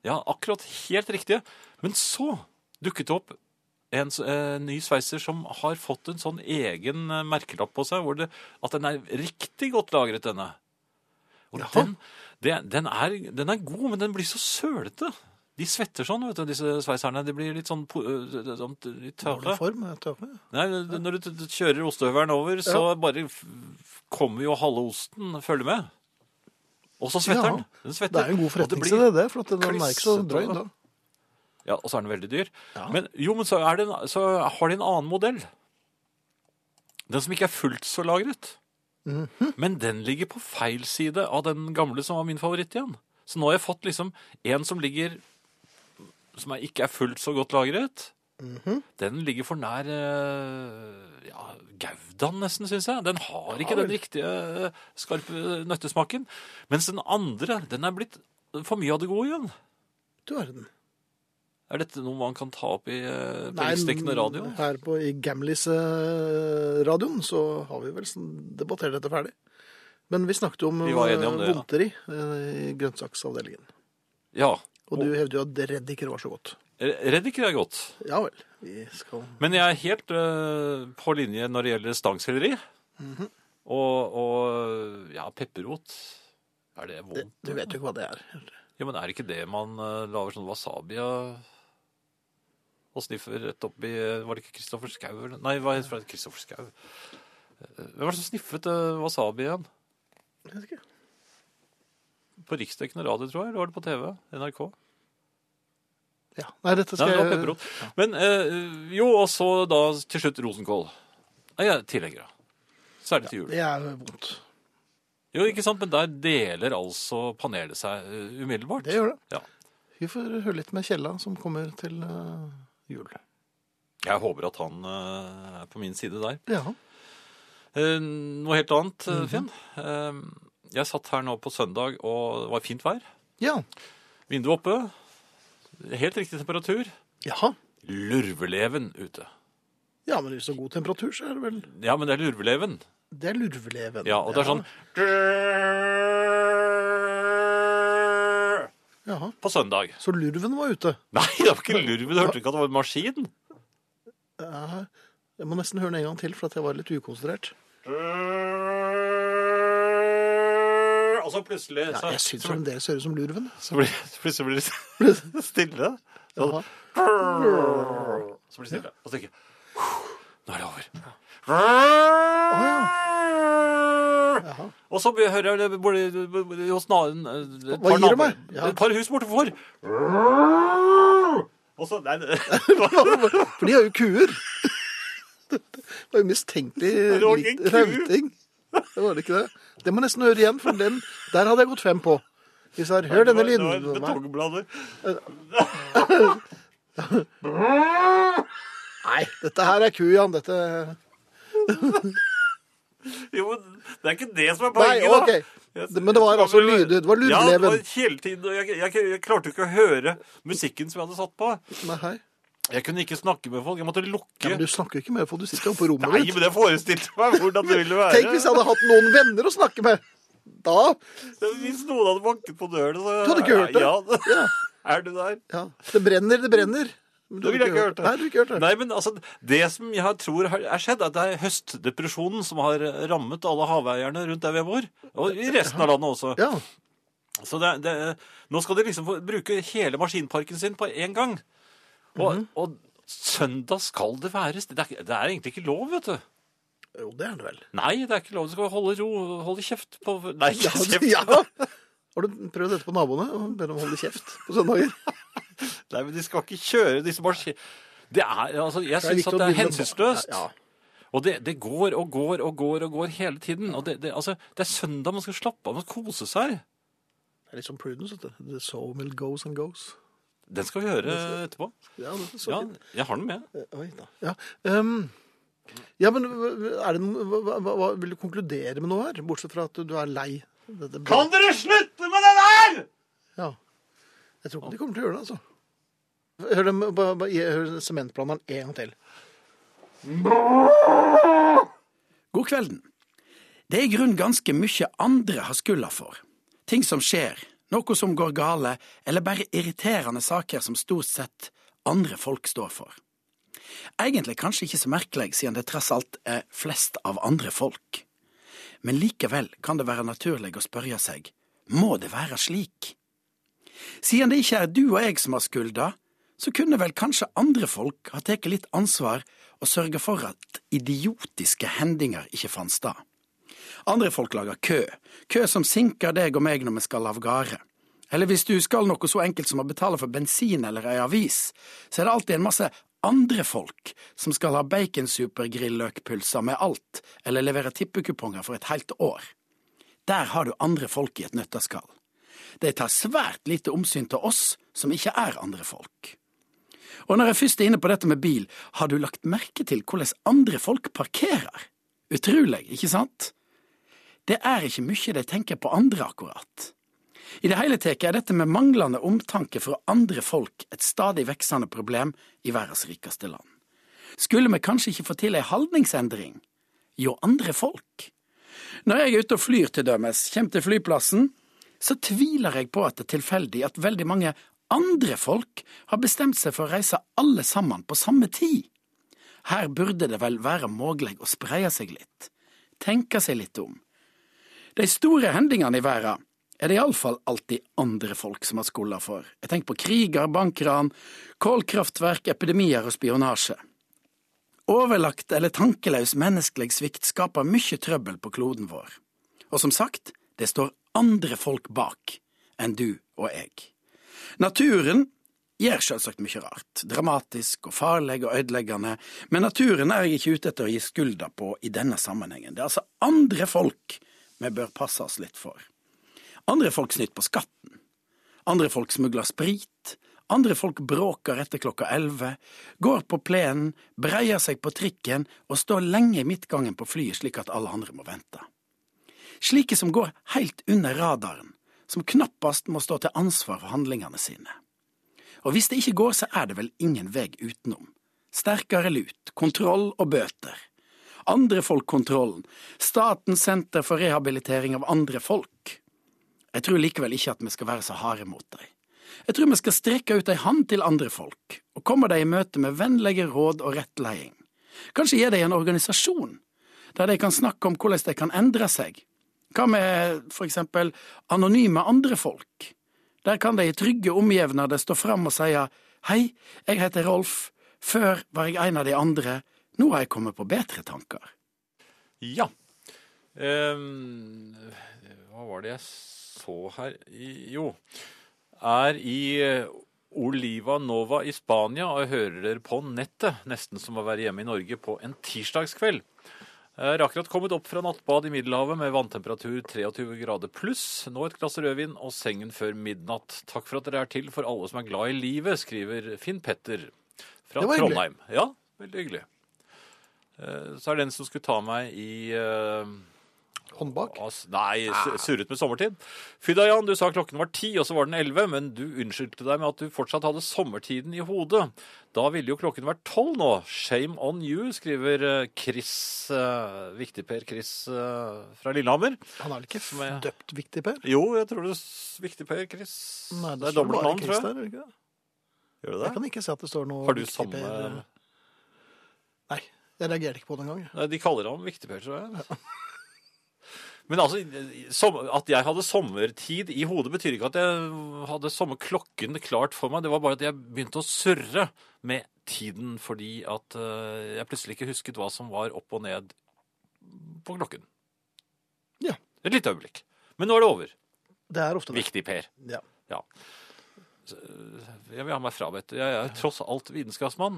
Speaker 1: Ja.
Speaker 2: akkurat helt riktige. Men så dukket det opp en s- eh, ny sveiser som har fått en sånn egen eh, merkelapp på seg, hvor det, at den er riktig godt lagret, denne. Og
Speaker 1: Jaha.
Speaker 2: den, det, den, er, den er god, men den blir så sølete. De svetter sånn, vet du, disse sveiserne. De blir litt sånn po- eh, sånn litt tørre.
Speaker 1: Dårlig form, eh, jeg tror jeg.
Speaker 2: Nei, det- når du t- t- kjører ostehøveren over, så bare f- f- kommer jo halve osten, følger med. Og så svetter
Speaker 1: Ja,
Speaker 2: den. Den svetter.
Speaker 1: Det er jo en god
Speaker 2: Og det blir-
Speaker 1: forretningsidé, det. For at den er ikke så
Speaker 2: klissete,
Speaker 1: drøy
Speaker 2: da.
Speaker 1: da.
Speaker 2: Ja, og så er den veldig dyr. Men jo, men så, er det en, så har de en annen modell. Den som ikke er fullt så lagret. Men den ligger på feil side av den gamle som var min favoritt igjen. Så nå har jeg fått liksom en som ligger Som er, ikke er fullt så godt lagret. Den ligger for nær eh, ja, Gaudan, nesten, syns jeg. Den har ikke den riktige eh, skarpe nøttesmaken. Mens den andre, den er blitt for mye av det gode igjen.
Speaker 1: Du verden.
Speaker 2: Er dette noe man kan ta opp i eh, på
Speaker 1: Nei,
Speaker 2: riksdekkende radio?
Speaker 1: Her på, i Gamlis-radioen så har vi vel sånn debattert dette ferdig. Men vi snakket jo om,
Speaker 2: Vi var enige om
Speaker 1: eh,
Speaker 2: det, ja.
Speaker 1: vomteri eh, i grønnsaksavdelingen.
Speaker 2: Ja.
Speaker 1: Og
Speaker 2: Oh.
Speaker 1: du hevder jo at reddiker var så godt.
Speaker 2: Reddiker er godt.
Speaker 1: Ja vel. Vi skal
Speaker 2: Men jeg er helt eh, på linje når det gjelder stangshelleri. Og, og ja, pepperrot. Er det
Speaker 1: det,
Speaker 2: vondt?
Speaker 1: Du vet jo ikke hva det er.
Speaker 2: Ja, men er det ikke det man uh, lager sånn wasabi av? Og sniffer rett opp i eh, Var det ikke Kristoffer Schau? eller- Nei, hva heter det? Kristoffer Schau. Eh, Hvem var det som sniffet eh, wasabi igjen?
Speaker 1: Jeg vet ikke.
Speaker 2: På riksdekkende radio, tror jeg? Eller var det på TV? NRK?
Speaker 1: Ja. Nei, dette
Speaker 2: Nei,
Speaker 1: skal
Speaker 2: det var
Speaker 1: jeg
Speaker 2: pepperrot. Men eh, jo, og så da til slutt rosenkål. Nei, jeg er tilhenger av. Særlig til jul.
Speaker 1: Det er vondt.
Speaker 2: Jo, ikke sant, men der deler altså panelet seg eh, umiddelbart.
Speaker 1: Det gjør det.
Speaker 2: Ja.
Speaker 1: Vi får høre litt med Kjella, som kommer til eh, jul.
Speaker 2: Jeg håper at han eh, er på min side der.
Speaker 1: Ja.
Speaker 2: Eh, noe helt annet,
Speaker 1: Mhm.
Speaker 2: eh, Finn. Eh, jeg satt her nå på søndag, og det var fint vær.
Speaker 1: ja.
Speaker 2: Vinduet oppe. Helt riktig temperatur.
Speaker 1: Jaha.
Speaker 2: Lurveleven ute.
Speaker 1: Ja, men i så god temperatur, så er det vel
Speaker 2: Ja, men det er lurveleven.
Speaker 1: Det er lurveleven.
Speaker 2: Ja, og det er sånn
Speaker 1: Jaha.
Speaker 2: på søndag.
Speaker 1: Så lurven var ute.
Speaker 2: Nei, det var ikke lurv. Du hørte ikke at det var en maskin?
Speaker 1: Eh, Jeg må nesten høre den en gang til, for at jeg var litt ukonsentrert.
Speaker 2: Øh, Og så plutselig
Speaker 1: Ja,
Speaker 2: så,
Speaker 1: jeg syns fremdeles høres ut som lurven.
Speaker 2: så blir, plutselig blir det stille. Så,
Speaker 1: Jaha.
Speaker 2: så blir det stille. Og så tenker jeg Nå er det over.
Speaker 1: Jaha.
Speaker 2: Og så hører jeg det bor- hos naboen øh,
Speaker 1: Hva
Speaker 2: et par
Speaker 1: gir det
Speaker 2: naboer-
Speaker 1: meg? Ja.
Speaker 2: Et par hus bortenfor. Og så Nei, det
Speaker 1: For de har jo kuer. Det var jo mistenkelig
Speaker 2: Det var ikke en
Speaker 1: litt
Speaker 2: ku.
Speaker 1: rauting. Det var det ikke det. Det må jeg nesten høre igjen, for den, der hadde jeg gått fem på. Hvis jeg har hørt denne
Speaker 2: det var
Speaker 1: lyden Nei,
Speaker 2: betongblader.
Speaker 1: dette her er ku, Jan. Dette
Speaker 2: Jo, men det er ikke det som er
Speaker 1: Nei,
Speaker 2: poenget,
Speaker 1: OK.
Speaker 2: da.
Speaker 1: Det- men det var altså lyder. Det var
Speaker 2: Ja, det var
Speaker 1: lurveleven.
Speaker 2: hele tiden. og Jeg, jeg, jeg klarte jo ikke å høre musikken som jeg hadde satt på.
Speaker 1: Nei.
Speaker 2: Jeg kunne ikke snakke med folk. Jeg måtte
Speaker 1: Ja,
Speaker 2: lukke.
Speaker 1: men du snakker jo ikke med folk. Du sitter jo oppe på
Speaker 2: Nei,
Speaker 1: rommet ditt.
Speaker 2: men jeg forestilte meg hvordan det ville være.
Speaker 1: Tenk hvis jeg hadde hatt noen venner å snakke med. Da
Speaker 2: Hvis noen hadde banket på døren, så
Speaker 1: Du hadde ikke hørt det?
Speaker 2: Ja,
Speaker 1: Ja.
Speaker 2: er du der?
Speaker 1: ja. Det brenner, det brenner. Men
Speaker 2: Da ville jeg ikke hørt det.
Speaker 1: Nei, du har ikke hørt det.
Speaker 2: Nei, men altså, Det som jeg tror har er skjedd, er at det er høstdepresjonen som har rammet alle haveierne rundt der vi bor. Og i resten av landet også.
Speaker 1: Ja.
Speaker 2: Så det, det, nå skal de liksom få bruke hele maskinparken sin på én gang. Og, og søndag skal det være st- det er, ikke- det er egentlig ikke lov, vet du.
Speaker 1: Jo, det er det vel.
Speaker 2: Nei, det er ikke lov. Du skal holde ro, holde kjeft på Nei, ikke
Speaker 1: Ja,
Speaker 2: kjeft.
Speaker 1: ja. Har du prøvd dette på naboene? Og bedt dem holde kjeft på søndager?
Speaker 2: Nei, men de skal ikke kjøre disse maskinene Det er, altså, Jeg syns at
Speaker 1: viktig å
Speaker 2: det er
Speaker 1: begynne-
Speaker 2: hensynsløst.
Speaker 1: Ja, ja.
Speaker 2: Og det, det går og går og går og går hele tiden. Og det, det, altså, det er søndag, man skal slappe av og kose seg.
Speaker 1: Det er litt som Prudence. vet du. The sawmill goes and goes.
Speaker 2: Den skal vi høre etterpå.
Speaker 1: Ja, det er så
Speaker 2: Ja,
Speaker 1: fint.
Speaker 2: jeg har den med.
Speaker 1: Eh, Oi, da. Ja. ehm, ja, men er det, noe- hva, hva, hva, vil du konkludere med noe her? Bortsett fra at du, du er lei. Dette,
Speaker 3: Kan dere slutte med det der?!
Speaker 1: Ja. Jeg tror ikke de kommer til å gjøre det, altså. Hør, dem, ba- ba- hør sementblanderen en gang til.
Speaker 5: God kvelden. Det er i grunn ganske mye andre har skylda for. Ting som skjer, noe som går gale, eller bare irriterende saker som stort sett andre folk står for. Egentlig kanskje ikke så merkelig, siden det tross alt er flest av andre folk. Men likevel kan det være naturlig å spørre seg, må det være slik? Siden det ikke er du og jeg som har skulda, så kunne vel kanskje andre folk ha tatt litt ansvar og sørga for at idiotiske hendinger ikke fant sted. Andre folk lager kø, kø som sinker deg og meg når vi skal av gårde. Eller hvis du skal noe så enkelt som å betale for bensin eller ei avis, så er det alltid en masse andre folk som skal ha baconsupergrilløkpølser med alt, eller levere tippekuponger for et helt år. Der har du andre folk i et nøtteskall. De tar svært lite omsyn til oss som ikke er andre folk. Og når jeg først er inne på dette med bil, har du lagt merke til hvordan andre folk parkerer? Utrolig, ikke sant? Det er ikke mye de tenker på andre, akkurat. I det hele tatt er dette med manglende omtanke for andre folk et stadig veksende problem i verdens rikeste land. Skulle vi kanskje ikke få til ei holdningsendring? Jo, andre folk. Når jeg er ute og flyr, til dømes, kommer til flyplassen, så tviler jeg på at det er tilfeldig at veldig mange andre folk har bestemt seg for å reise alle sammen på samme tid. Her burde det vel være mulig å spreie seg litt, tenke seg litt om. De store hendingene i verden er det iallfall alltid andre folk som har skulda for. Jeg tenker på kriger, bankran, kålkraftverk, epidemier og spionasje. Overlagt eller tankeløs menneskelig svikt skaper mye trøbbel på kloden vår. Og som sagt, det står andre folk bak enn du og jeg. Naturen gjør selvsagt mye rart, dramatisk og farlig og ødeleggende, men naturen er jeg ikke ute etter å gi skylda på i denne sammenhengen. Det er altså andre folk vi bør passe oss litt for. Andre folk snyter på skatten. Andre folk smugler sprit. Andre folk bråker etter klokka elleve, går på plenen, breier seg på trikken og står lenge i midtgangen på flyet slik at alle andre må vente. Slike som går helt under radaren, som knappast må stå til ansvar for handlingene sine. Og hvis det ikke går, så er det vel ingen vei utenom. Sterkere lut, kontroll og bøter. Andre folk-kontrollen, Statens senter for rehabilitering av andre folk. Jeg tror likevel ikke at vi skal være så harde mot dem. Jeg tror vi skal strekke ut ei hand til andre folk, og komme dem i møte med vennlige råd og rettleding. Kanskje gi dem en organisasjon, der de kan snakke om hvordan de kan endre seg. Hva med for eksempel anonyme andre folk? Der kan de i trygge omjevnader stå fram og si hei, jeg heter Rolf, før var jeg en av de andre, nå har jeg kommet på bedre tanker.
Speaker 2: Ja. Ehm, hva var det jeg så her I- Jo. Er i eh, Oliva Nova i Spania og jeg hører dere på nettet, nesten som å være hjemme i Norge på en tirsdagskveld. Jeg har akkurat kommet opp fra nattbad i Middelhavet med vanntemperatur 23 grader pluss. Nå et glass rødvin og sengen før midnatt. Takk for at dere er til for alle som er glad i livet, skriver Finn Petter fra
Speaker 1: Det var hyggelig.
Speaker 2: Trondheim. Ja, veldig hyggelig. Eh, Så er det en som skulle ta meg i eh,
Speaker 1: Hånd bak.
Speaker 2: Ass, nei, su- surret med sommertid. Fydajan, du sa klokken var ti, og så var den elleve, men du unnskyldte deg med at du fortsatt hadde sommertiden i hodet. Da ville jo klokken vært tolv nå. Shame on you, skriver eh, Chris, eh, Viktigper Chris eh, fra Lillehammer.
Speaker 1: Han er vel ikke
Speaker 2: Som er-
Speaker 1: døpt viktig, Per?
Speaker 2: Jo, jeg tror det er Viktigper Chris.
Speaker 1: Nei,
Speaker 2: det er
Speaker 1: står
Speaker 2: dobbelt
Speaker 1: bare
Speaker 2: navn,
Speaker 1: Chris
Speaker 2: tror jeg.
Speaker 1: der, er det ikke det?
Speaker 2: Gjør
Speaker 1: Jeg
Speaker 2: det det?
Speaker 1: kan ikke se at det står noe
Speaker 2: Har du
Speaker 1: viktig
Speaker 2: samme
Speaker 1: Per. eh, Nei, jeg reagerte ikke på det engang. jeg.
Speaker 2: Nei, de kaller ham Viktigper, tror jeg. Men altså, som, at jeg hadde sommertid i hodet, betyr ikke at jeg hadde sommerklokken klart for meg. Det var bare at jeg begynte å surre med tiden fordi at eh, jeg plutselig ikke husket hva som var opp og ned på klokken.
Speaker 1: Ja.
Speaker 2: Et lite øyeblikk. Men nå er det over.
Speaker 1: Det er ofte det.
Speaker 2: Viktig, Per. eh,
Speaker 1: Ja.
Speaker 2: Jeg vil ha meg frabedt. Jeg er tross alt vitenskapsmann.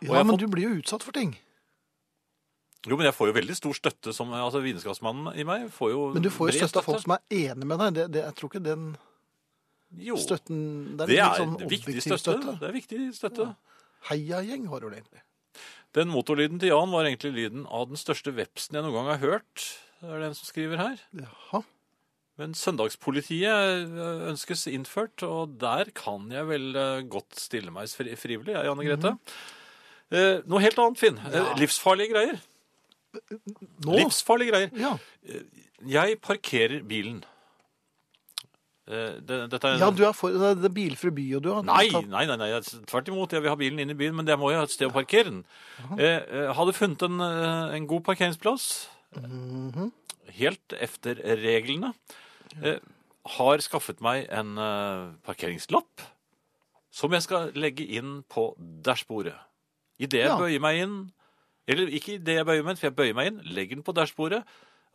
Speaker 2: jeg
Speaker 1: ja,
Speaker 2: har
Speaker 1: men
Speaker 2: fått-
Speaker 1: du blir jo utsatt for ting.
Speaker 2: Jo, men jeg får jo veldig stor støtte som altså, vitenskapsmannen i meg. Får jo
Speaker 1: Men du får jo
Speaker 2: bred
Speaker 1: støtte av folk som er enige med deg. Det, det, jeg tror ikke den
Speaker 2: Jo.
Speaker 1: støtten Det er,
Speaker 2: Det
Speaker 1: litt
Speaker 2: er
Speaker 1: sånn
Speaker 2: viktig
Speaker 1: objektiv
Speaker 2: støtte.
Speaker 1: støtte.
Speaker 2: Det er viktig støtte.
Speaker 1: Heiagjeng var det vel egentlig.
Speaker 2: Den motorlyden til Jan var egentlig lyden av den største vepsen jeg noen gang har hørt. Det er den som skriver her.
Speaker 1: Jaha.
Speaker 2: Men søndagspolitiet eh, ønskes innført, og der kan jeg vel eh, godt stille meg fri- frivillig, jeg, Janne Grete.
Speaker 1: Mhm.
Speaker 2: Eh, Noe helt annet, Finn. Eh, Livsfarlige greier.
Speaker 1: Nå?
Speaker 2: Livsfarlige greier.
Speaker 1: Ja.
Speaker 2: Jeg parkerer bilen. Eh, Det, dette er
Speaker 1: Ja, du er for det er- det er bilfri by, og du har
Speaker 2: Nei,
Speaker 1: tatt-
Speaker 2: nei, nei, nei, jeg- tvert imot. Jeg vil ha bilen inn i byen, men jeg må jo ha et sted å parkere den. Eh, eh, hadde funnet en, eh, en god parkeringsplass, helt efter reglene. Eh, har skaffet meg en eh, parkeringslapp som jeg skal legge inn på dashbordet. Idet jeg
Speaker 1: Ja.
Speaker 2: bøyer meg inn, eller ikke idet jeg bøyer meg inn, for jeg bøyer meg inn, legger den på dashbordet.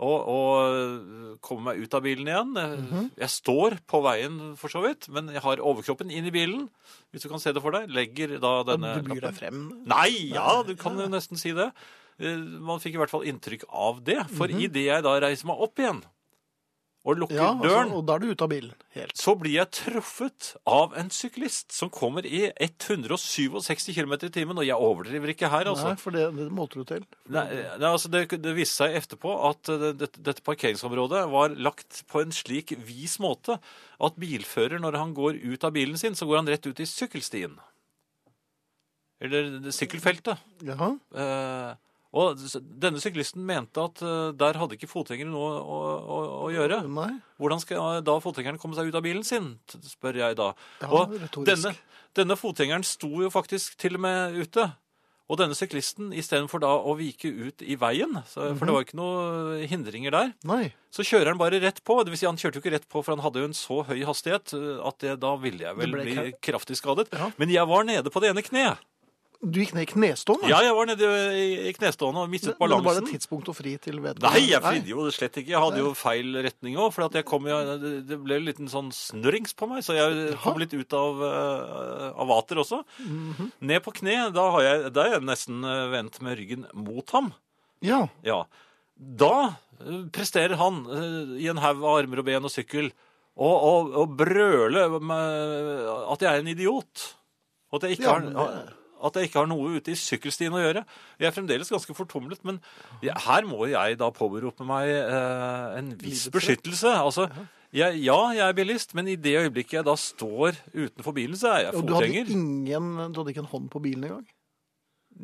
Speaker 2: Og, og kommer meg ut av bilen igjen.
Speaker 1: Mhm.
Speaker 2: Jeg står på veien, for så vidt, men jeg har overkroppen inn i bilen. Hvis du kan se det for deg. Legger da denne
Speaker 1: Du byr deg
Speaker 2: lappen-
Speaker 1: frem.
Speaker 2: Nei, ja, du kan jo nesten si det. Eh, Man fikk i hvert fall inntrykk av det. For idet jeg da reiser meg opp igjen og
Speaker 1: Mhm.
Speaker 2: lukker
Speaker 1: Ja, altså,
Speaker 2: døren,
Speaker 1: og da er du ute av bilen. Helt.
Speaker 2: så blir jeg truffet av en syklist som kommer i 167 km i timen. Og jeg overdriver ikke her, altså.
Speaker 1: Nei, for det, det målte du til.
Speaker 2: Nei, nei, altså det, det viste seg etterpå at eh, dette, dette parkeringsområdet var lagt på en slik vis måte at bilfører, når han går ut av bilen sin, så går han rett ut i sykkelstien. Eller sykkelfeltet.
Speaker 1: Jaha.
Speaker 2: Eh, og s- denne syklisten mente at eh, der hadde ikke fotgjengere noe å, å, å gjøre.
Speaker 1: Nei.
Speaker 2: Hvordan skal da fotgjengeren komme seg ut av bilen sin, t- spør jeg da.
Speaker 1: Ja,
Speaker 2: og
Speaker 1: retorisk.
Speaker 2: denne, denne fotgjengeren sto jo faktisk til og med ute. Og denne syklisten, istedenfor da å vike ut i veien, så,
Speaker 1: Mhm.
Speaker 2: for det var jo ikke noen hindringer der,
Speaker 1: Nei.
Speaker 2: så kjører han bare rett på. Det vil si, han kjørte jo ikke rett på, for han hadde jo en så høy hastighet eh, at det, da ville jeg vel
Speaker 1: Det ble
Speaker 2: bli
Speaker 1: kra-
Speaker 2: kraftig skadet.
Speaker 1: Ja.
Speaker 2: Men jeg var nede på det ene kneet.
Speaker 1: Du gikk ned i knestående?
Speaker 2: Ja, jeg var nede i- i knestående og mistet
Speaker 1: Men det var
Speaker 2: balansen.
Speaker 1: det tidspunkt å fri til vedkommende?
Speaker 2: Nei, jeg fridde jo slett ikke. Jeg hadde jo feil retning òg. For at jeg kom jo, det- det ble en liten sånn snurrings på meg, så jeg kom litt ut av, eh, av vater også. Ned på kne. Da, har jeg, da er jeg nesten eh, vendt med ryggen mot ham.
Speaker 1: Ja.
Speaker 2: Ja. Da eh, presterer han eh, i en haug av armer og ben og sykkel å og, og brøle med at jeg er en idiot. Og at jeg ikke
Speaker 1: Ja, men
Speaker 2: har at jeg ikke har noe ute i sykkelstien å gjøre. Jeg er fremdeles ganske fortumlet, men jeg, her må jeg da påberope meg eh, en viss beskyttelse. Altså, jeg, ja, jeg er bilist, men i det øyeblikket jeg da står utenfor bilen, så er jeg
Speaker 1: Og du hadde,
Speaker 2: fotgjenger.
Speaker 1: ingen, du hadde ikke en hånd på bilen engang?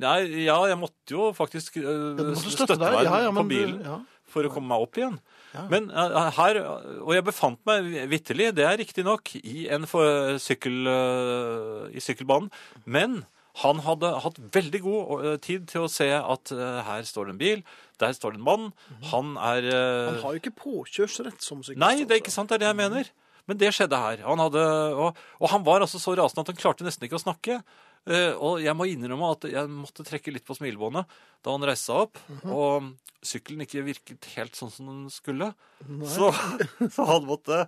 Speaker 2: Nei, ja, jeg måtte jo faktisk eh,
Speaker 1: Ja, du måtte
Speaker 2: støtte
Speaker 1: støtte deg.
Speaker 2: meg
Speaker 1: Ja, ja, men
Speaker 2: på
Speaker 1: du-
Speaker 2: bilen
Speaker 1: ja.
Speaker 2: for å komme meg opp igjen.
Speaker 1: Ja.
Speaker 2: Men eh, her, og jeg befant meg vitterlig, det er riktig nok, i, en for, sykkel, eh, i sykkelbanen, men han hadde hatt veldig god eh, tid til å se at eh, her står det en bil, der står det en mann, han er... eh,
Speaker 1: Mhm. Han har jo ikke påkjørsrett som syklist.
Speaker 2: Nei, det er ikke sant, det er det jeg mener. Men det skjedde her. Han hadde, og, og han var altså så rasende at han klarte nesten ikke å snakke. Eh, og jeg må innrømme at jeg måtte trekke litt på smilebåndet da han reiste seg opp,
Speaker 1: Mhm.
Speaker 2: og sykkelen ikke virket helt sånn som den skulle. Så, så han måtte,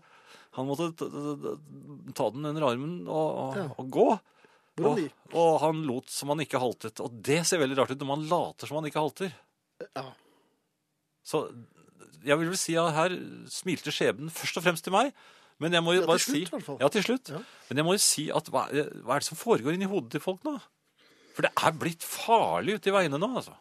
Speaker 2: han måtte t- t- ta den under armen og, og,
Speaker 1: Ja.
Speaker 2: og gå.
Speaker 1: Hvordan
Speaker 2: Og,
Speaker 1: gikk
Speaker 2: og han lot som han ikke haltet. Og det ser veldig rart ut når man later som han ikke halter.
Speaker 1: Ja.
Speaker 2: Så jeg vil vel si at her smilte skjebnen først og fremst til meg. Men jeg må jo
Speaker 1: Ja, til
Speaker 2: bare
Speaker 1: slutt, i
Speaker 2: si
Speaker 1: hvert fall.
Speaker 2: Ja, til slutt.
Speaker 1: Ja.
Speaker 2: Men jeg må jo si at hva, eh, hva er det som foregår inni hodet til folk nå? For det er blitt farlig ute i veiene nå, altså.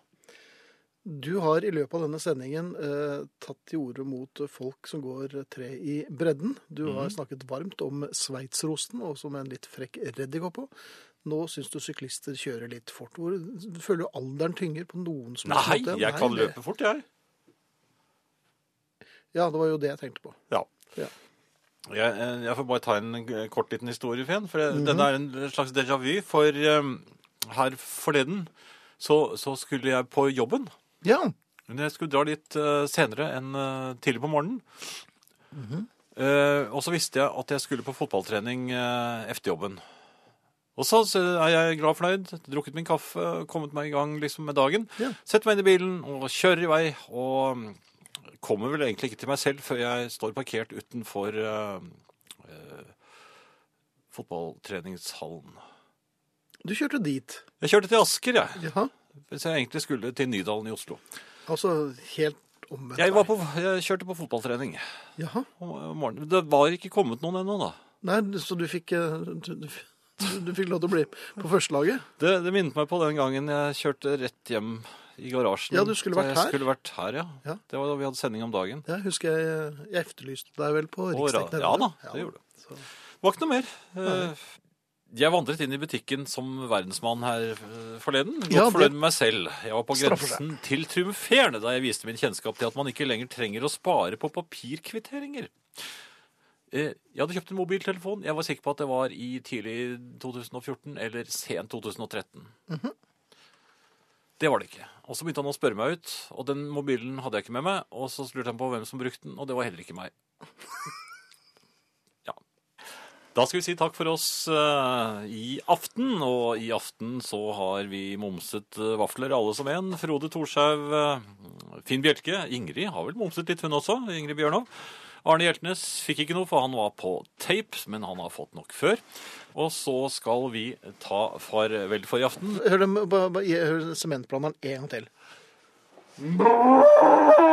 Speaker 1: Du har i løpet av denne sendingen eh, tatt til orde mot folk som går tre i bredden. Du
Speaker 2: Mhm.
Speaker 1: har snakket varmt om sveitserosten, og som en litt frekk reddik på. Nå syns du syklister kjører litt fort. Hvor, du føler jo alderen tynger på noen som helst
Speaker 2: Nei,
Speaker 1: måte.
Speaker 2: jeg kan
Speaker 1: det-
Speaker 2: løpe fort, jeg.
Speaker 1: Ja, det var jo det jeg tenkte på.
Speaker 2: Ja.
Speaker 1: Ja.
Speaker 2: Jeg, eh, jeg får bare ta en eh, kort liten historie, Fen. For
Speaker 1: Mhm.
Speaker 2: jeg- denne er en slags déjà vu. For eh, her forleden så, så skulle jeg på jobben.
Speaker 1: Ja,
Speaker 2: Men jeg skulle dra litt eh, senere enn eh, tidlig på morgenen. Eh, og så visste jeg at jeg skulle på fotballtrening eh, efter jobben. Og så, så er jeg glad fornøyd, drukket min kaffe, kommet meg i gang liksom, med dagen.
Speaker 1: Ja.
Speaker 2: Setter meg inn i bilen og kjører i vei. Og mm, kommer vel egentlig ikke til meg selv før jeg står parkert utenfor eh, eh, fotballtreningshallen.
Speaker 1: du kjørte dit.
Speaker 2: Jeg kjørte til Asker, jeg.
Speaker 1: Ja,
Speaker 2: Hvis jeg egentlig skulle til Nydalen i Oslo.
Speaker 1: altså helt omvendt.
Speaker 2: Jeg, var på, jeg kjørte på fotballtrening.
Speaker 1: Jaha.
Speaker 2: om morgenen. Det var ikke kommet noen ennå, da.
Speaker 1: Nei, så du fikk, eh, du, du, du fikk lov til å bli på førstelaget?
Speaker 2: Det, det minnet meg på den gangen jeg kjørte rett hjem i garasjen.
Speaker 1: Ja, du skulle
Speaker 2: Da
Speaker 1: vært
Speaker 2: jeg
Speaker 1: her.
Speaker 2: Skulle vært her ja.
Speaker 1: Ja.
Speaker 2: Det var da vi hadde sending om dagen.
Speaker 1: Jeg husker jeg, jeg efterlyste deg vel på
Speaker 2: Og ra-
Speaker 1: riksdekkende.
Speaker 2: ja da,
Speaker 1: radio.
Speaker 2: det gjorde det.
Speaker 1: Så-
Speaker 2: Var ikke noe mer. Eh, Jeg vandret inn i butikken som verdensmann her eh, forleden. Godt
Speaker 1: Ja, det-
Speaker 2: fornøyd med meg selv. Jeg var på
Speaker 1: Straffer seg.
Speaker 2: grensen til triumferende da jeg viste min kjennskap til at man ikke lenger trenger å spare på papirkvitteringer. Eh, Jeg hadde kjøpt en mobiltelefon. Jeg var sikker på at det var i tidlig 2014 eller sent 2013.
Speaker 1: Mhm.
Speaker 2: Det var det ikke. Og så begynte han å spørre meg ut, og den mobilen hadde jeg ikke med meg. Og så lurte han på hvem som brukte den, og det var heller ikke meg. Ja. Da skal vi si takk for oss eh, i aften, og i aften så har vi momset eh, vafler alle som en. Frode Thorshaug, eh, Finn Bjelke, Ingrid har vel momset litt hun også, Ingrid Bjørnov. Arne Hjeltnes fikk ikke noe, for han var på tape, men han har fått nok før. Og så skal vi ta farvel for i aften.
Speaker 1: Hør, dem- ba- ba- hør sementblanderen en gang til.